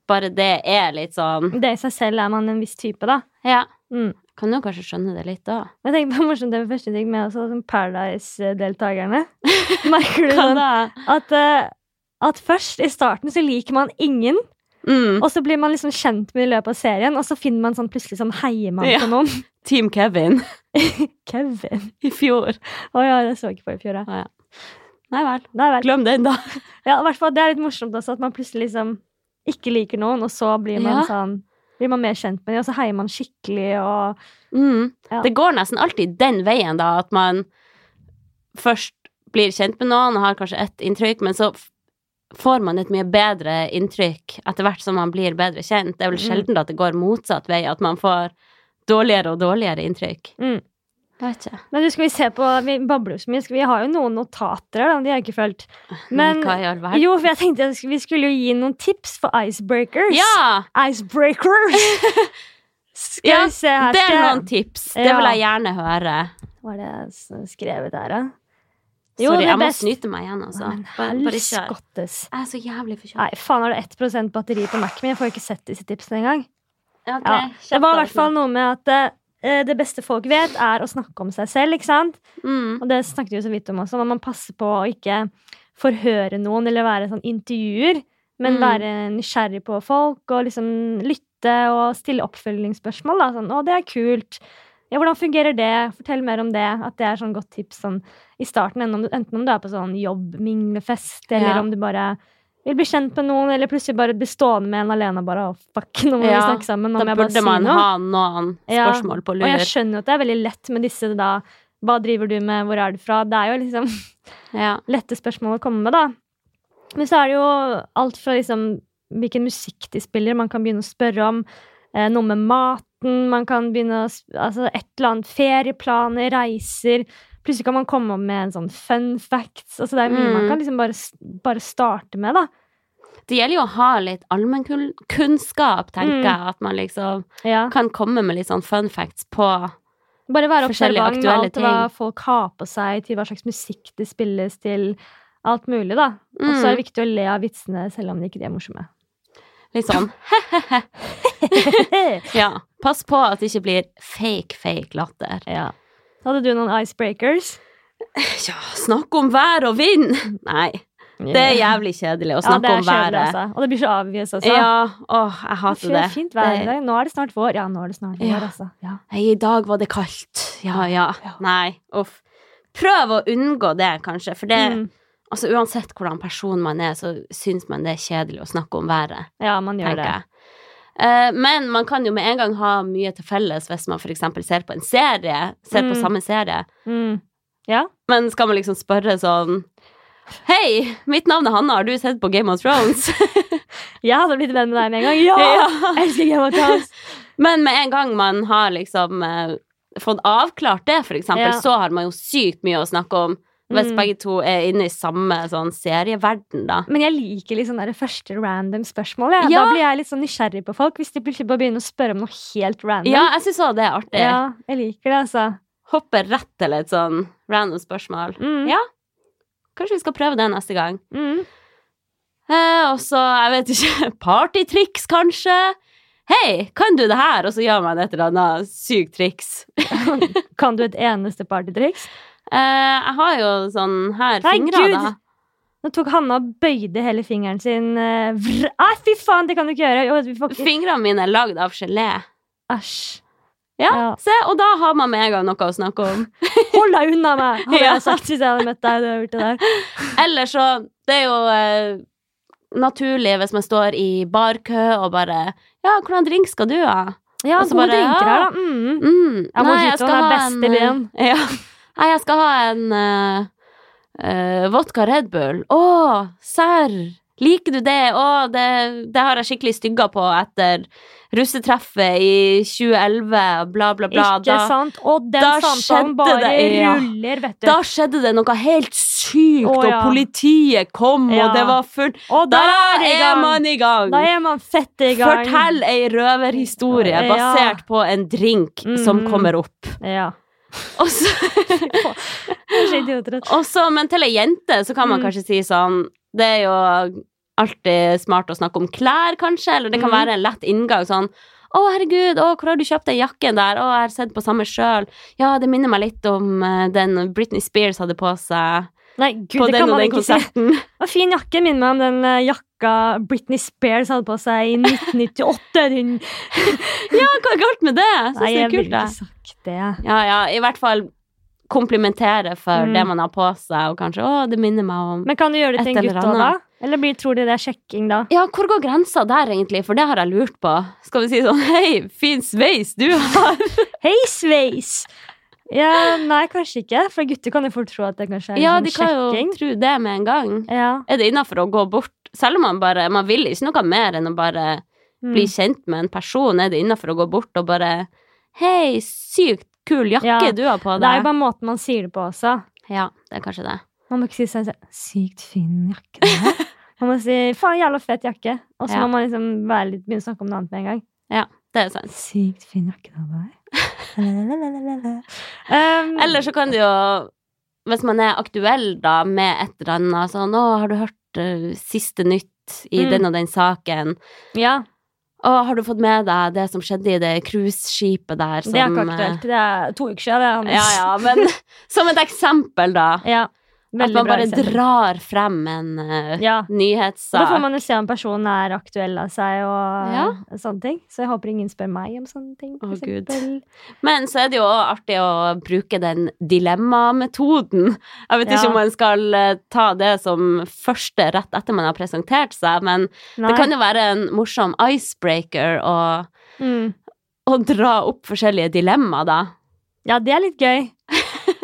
bare det er litt sånn
det i seg selv er man en viss type, da.
Ja.
Mm.
Kan jo kanskje skjønne det litt òg.
Jeg tenker på morsomt det med første ting med også, som Paradise-deltakerne.
(laughs)
Merker du sånn at, eh, at først, i starten, så liker man ingen,
Mm.
og så blir man liksom kjent med i løpet av serien, og så finner man sånn plutselig sånn heier man
Ja.
på noen. (laughs)
Team Kevin
Kevin.
i fjor.
Å ja, det så jeg ikke på i fjor, jeg.
Nei vel.
Det er vel.
Glem den, da.
Ja, i hvert fall, det er litt morsomt også, at man plutselig liksom ikke liker noen, og så blir man
Ja.
sånn blir man mer kjent med dem, og så heier man skikkelig og
Mm.
Ja.
Det går nesten alltid den veien, da, at man først blir kjent med noen og har kanskje ett inntrykk, men så f- får man et mye bedre inntrykk etter hvert som man blir bedre kjent. Det er vel
Mm.
sjelden at det går motsatt vei, at man får dårligere og dårligere inntrykk.
Mm.
Jeg vet ikke.
Men du, skal vi se på Vi babler jo så mye. Skal vi har jo noen notater her, da. De har jeg ikke fulgt. Men
Hva i all verden?
jo, for jeg tenkte jeg sk- vi skulle jo gi noen tips for icebreakers.
Ja! (laughs)
Icebreakers! skal
Ja,
vi se her
Det er
skal jeg-
noen tips. Det vil
Ja.
jeg gjerne høre.
Hva er det jeg s- skrevet her, da?
Sorry,
det er
jeg må
best.
snyte meg igjen, altså.
Men
Bare, bare kjør.
helskottes.
Jeg er så jævlig forkjøla.
Nei, faen har du 1 batteri på Mac-en min? Jeg får jo ikke sett disse tipsene engang.
Ja, ok.
Ja,
Kjapt
Det var i
da,
hvert fall noe med at eh, det beste folk vet, er å snakke om seg selv, ikke sant?
Mm.
Og det snakket vi jo så vidt om også, når man passer på å ikke forhøre noen eller være sånn intervjuer. men
Mm.
være nysgjerrig på folk og liksom lytte og stille oppfølgingsspørsmål. Da. Sånn, 'Å, det er kult. Ja, hvordan fungerer det? Fortell mer om det.' At det er sånn godt tips sånn, i starten, enten om du, enten om du er på sånn jobb, minglefest, eller
Ja.
om du bare vil bli kjent med noen, eller plutselig bare bli stående med en alene og bare 'Å, fuck, nå må vi
Ja,
snakke sammen.' Nå
Da
må jeg bare
burde
si
man
noe.
ha noen
Ja,
spørsmål på
Og jeg
lur.
skjønner jo at det er veldig lett med disse da Hva driver du med, hvor er du fra? Det er jo liksom
Ja.
lette spørsmål å komme med, da. Men så er det jo alt fra liksom hvilken musikk de spiller, man kan begynne å spørre om. Eh, noe med maten, man kan begynne å sp- Altså et eller annet. Ferieplaner, reiser. Plutselig kan man komme opp med en sånn fun facts. Altså det er mye
Mm.
man kan liksom bare, s- bare starte med, da.
Det gjelder jo å ha litt allmennkunnskap, tenker
Mm.
jeg. At man liksom
Ja.
kan komme med litt sånn fun facts på
Bare være
Forskjellige
observant med
aktuelle
alt hva folk har på seg, til hva slags musikk det spilles til. Alt mulig, da. Og
Mm.
så er det viktig å le av vitsene selv om de ikke de
(laughs)
er morsomme. (laughs)
litt sånn Ja. Pass på at det ikke blir fake, fake
(laughs)
latter.
ja. Hadde du noen icebreakers?
Ja, snakk om vær og vind! Nei, det er jævlig kjedelig å snakke
ja, det er
om været.
kjedelig, altså. Og det blir så obvious også.
Ja, åh, jeg hater
det
det.
er fint vær i
Det-
dag. Nå er det snart vår. Ja, nå er det snart
Ja.
vår, altså. Ja.
Nei, i dag var det kaldt. Ja, ja.
Ja.
Nei, uff. Prøv å unngå det, kanskje, for det
Mm.
Altså, uansett hvordan person man er, så syns man det er kjedelig å snakke om været,
ja, man
tenker
gjør det.
jeg. Eh, Men man kan jo med en gang ha mye til felles hvis man f.eks. ser på en serie, ser på
Mm.
samme serie.
Mm. Ja.
Men skal man liksom spørre sånn Hei, mitt navn er Hanna, har du sett på Game of
(laughs)
Thrones? (laughs)
Jeg hadde blitt venn med deg med en gang. Ja!
Ja.
Jeg elsker Game
(laughs)
of Thrones.
Men med en gang man har liksom eh, fått avklart det, for eksempel,
Ja.
så har man jo sykt mye å snakke om. Hvis
Mm.
begge to er inne i samme sånn serieverden, da.
Men jeg liker litt sånn der første random spørsmål. jeg.
Ja.
Da blir jeg litt sånn nysgjerrig på folk hvis de plutselig bare begynner å spørre om noe helt random.
Ja, jeg syns òg det er artig.
Ja, jeg liker det, altså.
Hoppe rett til et sånn random spørsmål.
Mm.
Ja. Kanskje vi skal prøve det neste gang.
Mm. (laughs)
Eh, og så, jeg vet ikke, (laughs) partytriks, kanskje? Hei, kan du det her? Og så gjør man et eller annet sykt triks.
Kan du et eneste partytriks?
Eh, jeg har jo sånn her
Nei,
fingre,
Gud!
da.
Nå tok Hanna og bøyde hele fingeren sin. eh, vrr. Ai, fy faen, det kan du ikke gjøre! Jo, vi får ikke-
Fingrene mine er lagd av gelé.
Æsj.
Ja,
Ja.
se, og da har man med en gang noe å snakke om.
Hold deg unna meg! Hadde
Ja.
jeg sagt hvis jeg hadde møtt deg. Du har gjort det der.
Eller så Det er jo eh, naturlig hvis man står i barkø og bare Ja, hvordan drink skal du ha?
Ja,
Og så
gode
bare, ja.
drinker her, da. Mm.
Mm,
Ja, mojitoen er best i
eh,
byen.
Ja. Nei, jeg skal ha en eh, eh, vodka Red Bull. Å, serr! Liker du det? Å, det, det har jeg skikkelig stygga på etter russetreffet i 2011, bla, bla, bla.
Ikke
Da,
sant? Og den
da
samtalen
skjedde
bare
det, ja.
ruller, vet du.
da skjedde det noe helt sykt,
Å, ja.
og politiet kom,
Ja.
og det var fullt
og
Da
der er, det i
er
gang.
man i gang!
Da er man fett i gang.
Fortell ei røverhistorie
Ja.
basert på en drink som
Mhm.
kommer opp.
Ja.
Og så (laughs)
Det er så idiotrett.
Og så, men til ei jente så kan man
Mm.
kanskje si sånn Det er jo alltid smart å snakke om klær, kanskje, eller det kan
Mm.
være en lett inngang sånn å, herregud, å, hvor har du kjøpt den jakken der? Å, jeg har sett på samme sjøl. Ja, det minner meg litt om eh, den Britney Spears hadde på seg
Nei, gud,
på
det
den
kan
og
man
den
ikke si.
konserten. (laughs)
Og fin jakke minner meg om den eh, jakka Britney Spears hadde på seg
(laughs)
i 1998. Hun,
Ja, hva er galt med det? Jeg
nei,
Syns det
jeg
er
ville
kult,
ikke
det.
sagt det.
Ja, ja, i hvert fall komplimentere for
Mm.
det man har på seg, og kanskje å, det minner meg om
Men kan du gjøre det til
Et
en
eller
gutt òg, da?
annet.
Eller blir, tror de det er sjekking da?
Ja, hvor går grensa der, egentlig? For det har jeg lurt på. Skal vi si sånn Hei, fin sveis du har!
Hei, sveis! Ja, nei, kanskje ikke. For gutter kan jo fort tro at det kanskje er
Ja,
litt
de
sånn
kan jo
sjekking.
tro det med en gang.
Ja.
Er det innafor å gå bort? Selv om man bare Man vil ikke noe mer enn å bare
Mm.
bli kjent med en person. Er det innafor å gå bort og bare Hei, sykt kul jakke
Ja,
du har på
Det er
deg.
jo bare måten man sier det på også.
Ja, det er kanskje det.
Man må ikke si sånn Sykt fin jakke. du har."
(laughs)
Man må si 'faen, jævla fet jakke', og så
Ja.
må man liksom være litt, begynne å snakke om noe annet med en gang.
Det er sant.
Sykt fin jakke du har på deg. (laughs) Um,
Eller så kan du jo Hvis man er aktuell da med et eller annet sånn Å, har du hørt eh, siste nytt i
Mm.
den og den saken?
Ja,
Å, har du fått med deg det som skjedde i det cruiseskipet der? Som, (laughs)
det er ikke aktuelt. Det er to uker siden, det.
eh, Ja, ja, men som et eksempel, da.
Ja.
At
Veldig
man
bra
bare
eksempel.
drar frem en eh,
Ja. Og da får
nyhetssak.
man jo se om personen er aktuell av seg og
Ja.
sånne ting. Så jeg håper ingen spør meg om sånne ting. for
Å, Gud.
eksempel.
Men så er det jo også artig å bruke den dilemmametoden. Jeg vet
Ja.
ikke om man skal eh, ta det som første rett etter man har presentert seg, men
Nei.
det kan jo være en morsom icebreaker å,
mm.
å dra opp forskjellige dilemmaer, da.
Ja, det er litt gøy.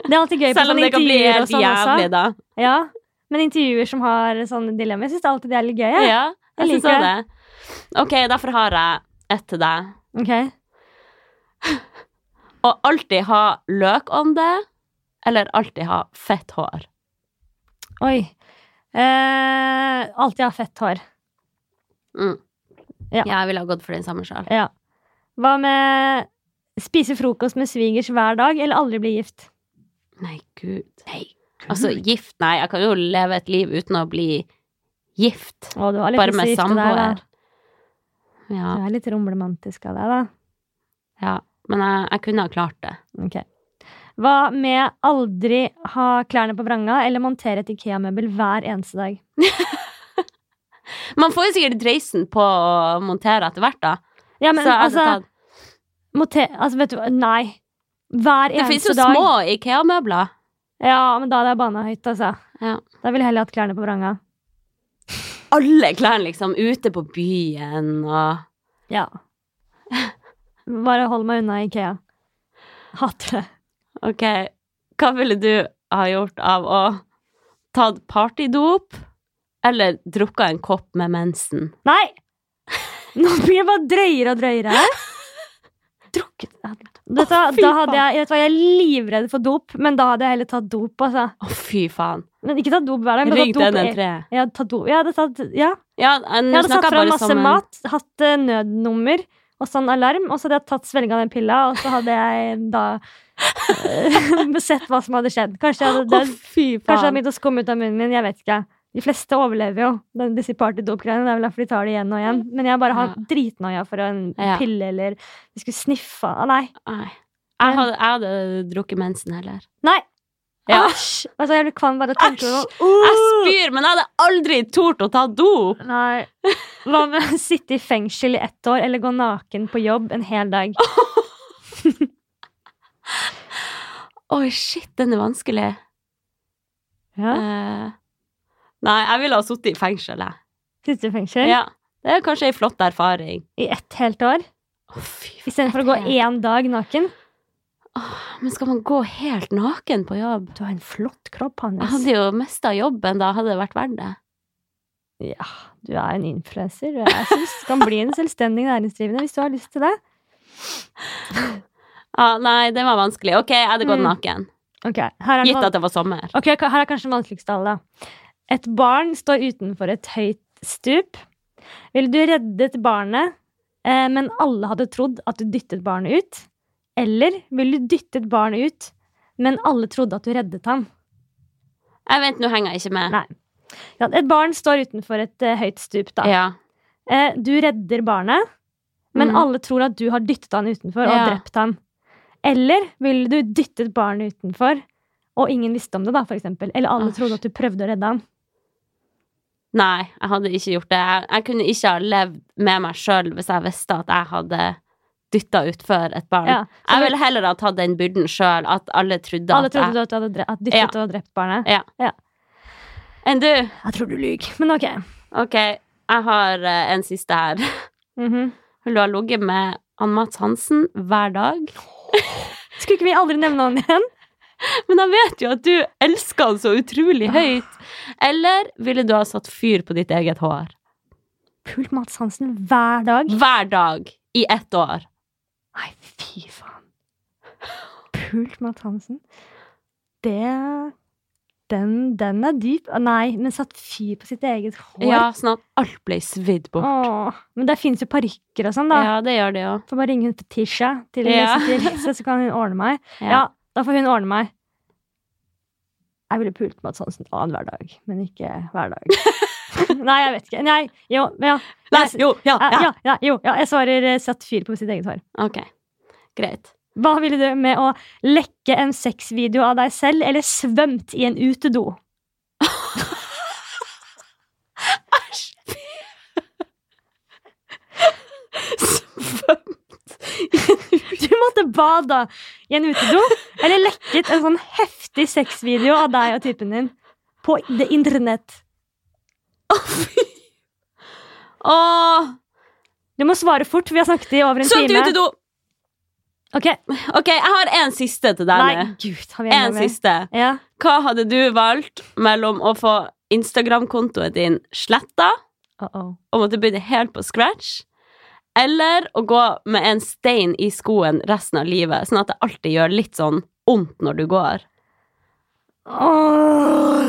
Det er
(laughs)
alltid gøy på
Selv om
sånne
det kan bli
intervjuer og
helt
sånn
jævlig,
også.
da.
Ja. Men intervjuer som har sånne dilemmaer, jeg syns alltid det er litt gøy. jeg.
Ja, jeg
jeg
syns
liker
også det. Ok, derfor har jeg et til deg.
Ok.
Å alltid ha løkånde, eller alltid ha fett hår.
Oi. Eh, alltid ha fett hår.
Mm.
Ja.
Jeg ville ha gått for den samme sjøl.
Ja. Hva med spise frokost med svigers hver dag, eller aldri bli gift?
Nei, gud. Altså, gift Nei, jeg kan jo leve et liv uten å bli gift.
Å, du har litt
Bare
lyst til å
med
gifte deg, da.
samboer. Ja,
Du er litt romromantisk av deg, da.
ja. Men jeg, jeg kunne ha klart det.
Ok. Hva med aldri ha klærne på vranga, eller montere et Ikea-møbel hver eneste dag?
Man får jo sikkert dreisen på å montere etter hvert, da.
Ja, men
Så jeg hadde
altså,
tatt-
monte- altså Vet du hva, nei. Hver
det fins jo
eneste dag.
små Ikea-møbler.
Ja, men da hadde jeg bana høyt, altså.
Ja.
Da ville jeg heller hatt klærne på vranga.
Alle klærne liksom ute på byen og
Ja. (laughs) Bare hold meg unna Ikea. Hater det.
Ok, hva ville du ha gjort av å tatt partydop eller drukka en kopp med mensen?
Nei! Nå blir jeg bare drøyere og drøyere her. Drukket Vet du, hva,
Å, fy
da hadde
faen.
jeg, vet du hva, jeg er livredd for dop, men da hadde jeg heller tatt dop. Altså.
Å, fy faen.
Men ikke tatt dop hver dag. Men
Rygg
tatt dop
den en
en-
tre.
jeg hadde tatt dop. Jeg hadde tatt, ja.
sånn Ja, nå
jeg hadde
snakker
satt fram
bare
masse
som en-
mat, hatt eh, nødnummer og sånn alarm, og så hadde jeg tatt svelga den pilla, og så hadde jeg da eh, (laughs) sett hva som hadde skjedd. Kanskje jeg hadde
Å,
dødd.
fy
Kanskje det har
faen.
begynt å skumme ut av munnen min. Jeg vet ikke. De fleste overlever jo den- disse partydop-greiene. Det er vel derfor de tar det igjen og igjen. Men jeg bare har
Mm. Ja.
dritnoia for en
Ja.
pille eller Vi skulle sniffe ah, Nei.
Nei. Jeg hadde, jeg hadde drukket mensen heller.
Nei!
Ja.
Æsj! Altså, jeg blir kvalm bare av å tenke på
Æsj! Uh!
det.
Jeg spyr, men jeg hadde aldri tort å ta dop.
Nei. Hva med å sitte i fengsel i ett år eller gå naken på jobb en hel dag?
Oi, shit, den er vanskelig.
Ja.
Eh, nei, jeg ville ha sittet i fengsel, jeg.
Sitte i fengsel
Ja. Det er kanskje ei flott erfaring.
i ett helt år
Å, fy faen.
istedenfor å gå
Ett helt-
én dag naken.
Åh, Men skal man gå helt naken på jobb?
Du har en flott kropp,
Jeg
Hannes.
hadde jo mista jobben da, hadde det vært verdt det.
Ja, du er en influenser. og Jeg synes du kan bli en selvstendig næringsdrivende hvis du har lyst til det.
Ah, nei, det var vanskelig. Ok, jeg hadde gått
Mm.
naken.
Ok, her er, den
Gitt
van-
at det var sommer.
Ok, her er kanskje den vanskeligste av alle. da. Et barn står utenfor et høyt stup. Ville du reddet barnet, eh, men alle hadde trodd at du dyttet barnet ut? Eller ville du dyttet barnet ut, men alle trodde at du reddet ham?
Jeg vet, nå henger jeg ikke med.
Nei, Ja, et barn står utenfor et eh, høyt stup, da.
Ja.
Eh, du redder barnet, men
Mhm.
alle tror at du har dyttet han utenfor og
Ja.
drept han. Eller ville du dyttet barnet utenfor, og ingen visste om det, da, for eksempel? Eller alle
Æsj.
trodde at du prøvde å redde han.
Nei, jeg hadde ikke gjort det. Jeg, jeg kunne ikke ha levd med meg sjøl hvis jeg visste at jeg hadde dytta utfor et barn.
Ja, så
jeg
du-
ville heller ha tatt den byrden sjøl, at alle trodde
Alle
at jeg
trodde at du hadde dre at dyttet og drept barnet.
Ja.
Ja.
Enn du?
Jeg tror du lyver, men ok.
Ok, jeg har eh, en siste her. (laughs)
Mhm.
Vil du ha ligget med han Mats Hansen hver dag?
Skulle ikke vi aldri nevne han igjen?
Men jeg vet jo at du elsker han så utrolig høyt. Eller ville du ha satt fyr på ditt eget hår?
Pult Mats Hansen hver dag.
Hver dag i ett år.
Nei, fy faen. Pult Mats Hansen. Det den, den er dyp. Nei, men satt fyr på sitt eget hår.
Ja, sånn at alt ble svidd bort.
Åh, men der fins jo parykker og sånn, da.
Ja, det gjør det jo.
Får bare ringe Fetisha til
Ja.
til Elise, så kan hun ordne meg.
Ja.
Ja. da får hun ordne meg. Jeg ville pult sånn Mads Hansen annenhver dag, men ikke hver dag. Nei, jeg vet ikke. Nei, jo, men ja.
Nei, jo, ja,
Eh,
ja.
ja, ja, jo, ja. Jeg svarer eh, satt fyr på sitt eget hår.
Ok, greit.
Hva ville du med å lekke en sexvideo av deg selv, eller svømt i en utedo? og bada i en utedo, eller lekket en sånn heftig sexvideo av deg og typen din på det internett?
Åh,
Du må svare fort, vi har snakket i over en
så du
time.
til do!
Ok,
Ok, jeg har en siste til deg.
Nei,
nå.
gud, har vi
En
mer?
siste.
Ja.
Hva hadde du valgt mellom å få Instagram-kontoen din sletta
Uh -oh.
og måtte begynne helt på scratch, eller å gå med en stein i skoen resten av livet, sånn at det alltid gjør litt sånn vondt når du går?
Åh.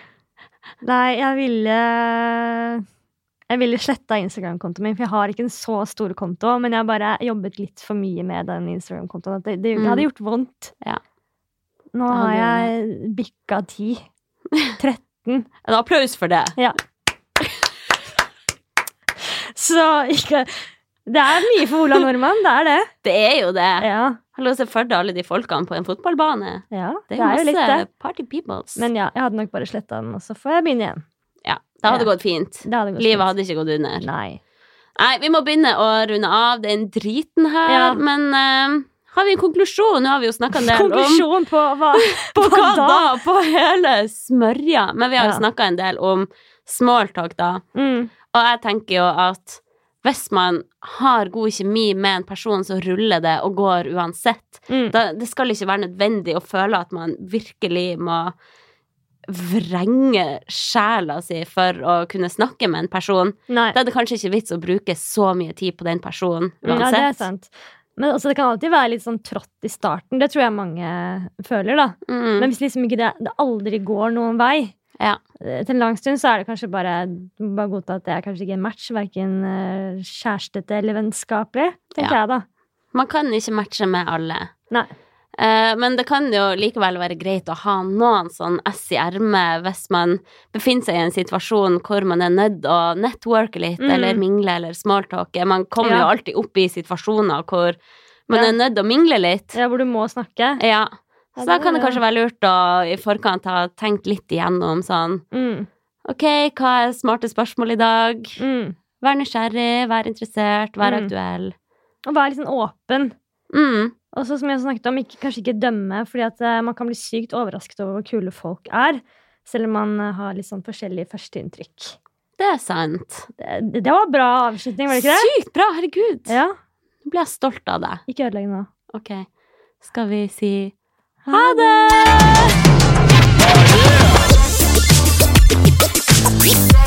(laughs) Nei, jeg ville Jeg ville sletta Instagram-kontoen min, for jeg har ikke en så stor konto. Men jeg har bare jobbet litt for mye med den Instagram-kontoen. at Det, det, det
Mm.
hadde gjort vondt.
Ja.
Nå
Ja,
har
det
jeg bikka ti. (laughs) 13.
En applaus for det.
Så ikke Det er mye for Ola Nordmann, det er det.
Det er jo det.
Ja,
Hallo, se for deg alle de folkene på en fotballbane.
ja
Det er, jo
litt
masse
det.
party peoples.
Men ja, jeg hadde nok bare sletta den, og så får jeg begynne igjen.
ja, det hadde
Ja.
gått fint.
Det hadde gått
Livet
fint.
hadde ikke gått under.
Nei.
Nei, vi må begynne å runde av den driten her,
Ja.
men eh, har vi en konklusjon? Nå har vi jo snakka en del om
Konklusjon på hva,
På (laughs) hva
da?
da? På hele smørja. Men vi har jo
Ja.
snakka en del om smalltalk, da.
Mm.
Og jeg tenker jo at hvis man har god kjemi med en person, så ruller det og går uansett.
Mm.
Da, det skal ikke være nødvendig å føle at man virkelig må vrenge sjela si for å kunne snakke med en person.
Nei.
Da er det kanskje ikke vits å bruke så mye tid på den personen
Mm, Ja,
uansett.
det er sant. Men også, det kan alltid være litt sånn trått i starten. Det tror jeg mange føler. da.
Mm.
Men hvis liksom ikke det, det aldri går noen vei,
Ja.
eh, til en lang stund, så er det kanskje bare du må bare godta at det er kanskje ikke en match. Verken eh, kjærestete eller vennskapelig, tenker jeg da.
Man kan ikke matche med alle.
Nei.
Eh, Men det kan jo likevel være greit å ha noen sånn ess i ermet hvis man befinner seg i en situasjon hvor man er nødt å networke litt,
Mm.
eller mingle eller smalltalke. Man kommer
Ja.
jo alltid opp i situasjoner hvor man
Ja.
er nødt å mingle litt.
Ja, hvor du må snakke.
Ja.
Ja,
Så da
det
kan
er
det
det.
kanskje være lurt å i forkant ha tenkt litt igjennom sånn
Mm.
Ok, hva er smarte spørsmål i dag?
Mm.
Vær nysgjerrig, vær interessert, vær
Mm.
aktuell.
Og være litt sånn åpen.
Mm.
Og så som jeg snakket om, ikke, kanskje ikke dømme, fordi at eh, man kan bli sykt overrasket over hvor kule folk er. Selv om man eh, har litt sånn forskjellige førsteinntrykk.
Det er sant.
Det, det det var bra avslutning, var det ikke det?
Sykt bra! Herregud.
Ja,
Nå ble jeg stolt av deg.
Ikke ødelegg nå.
Ok, skal vi si
Ha det!
det!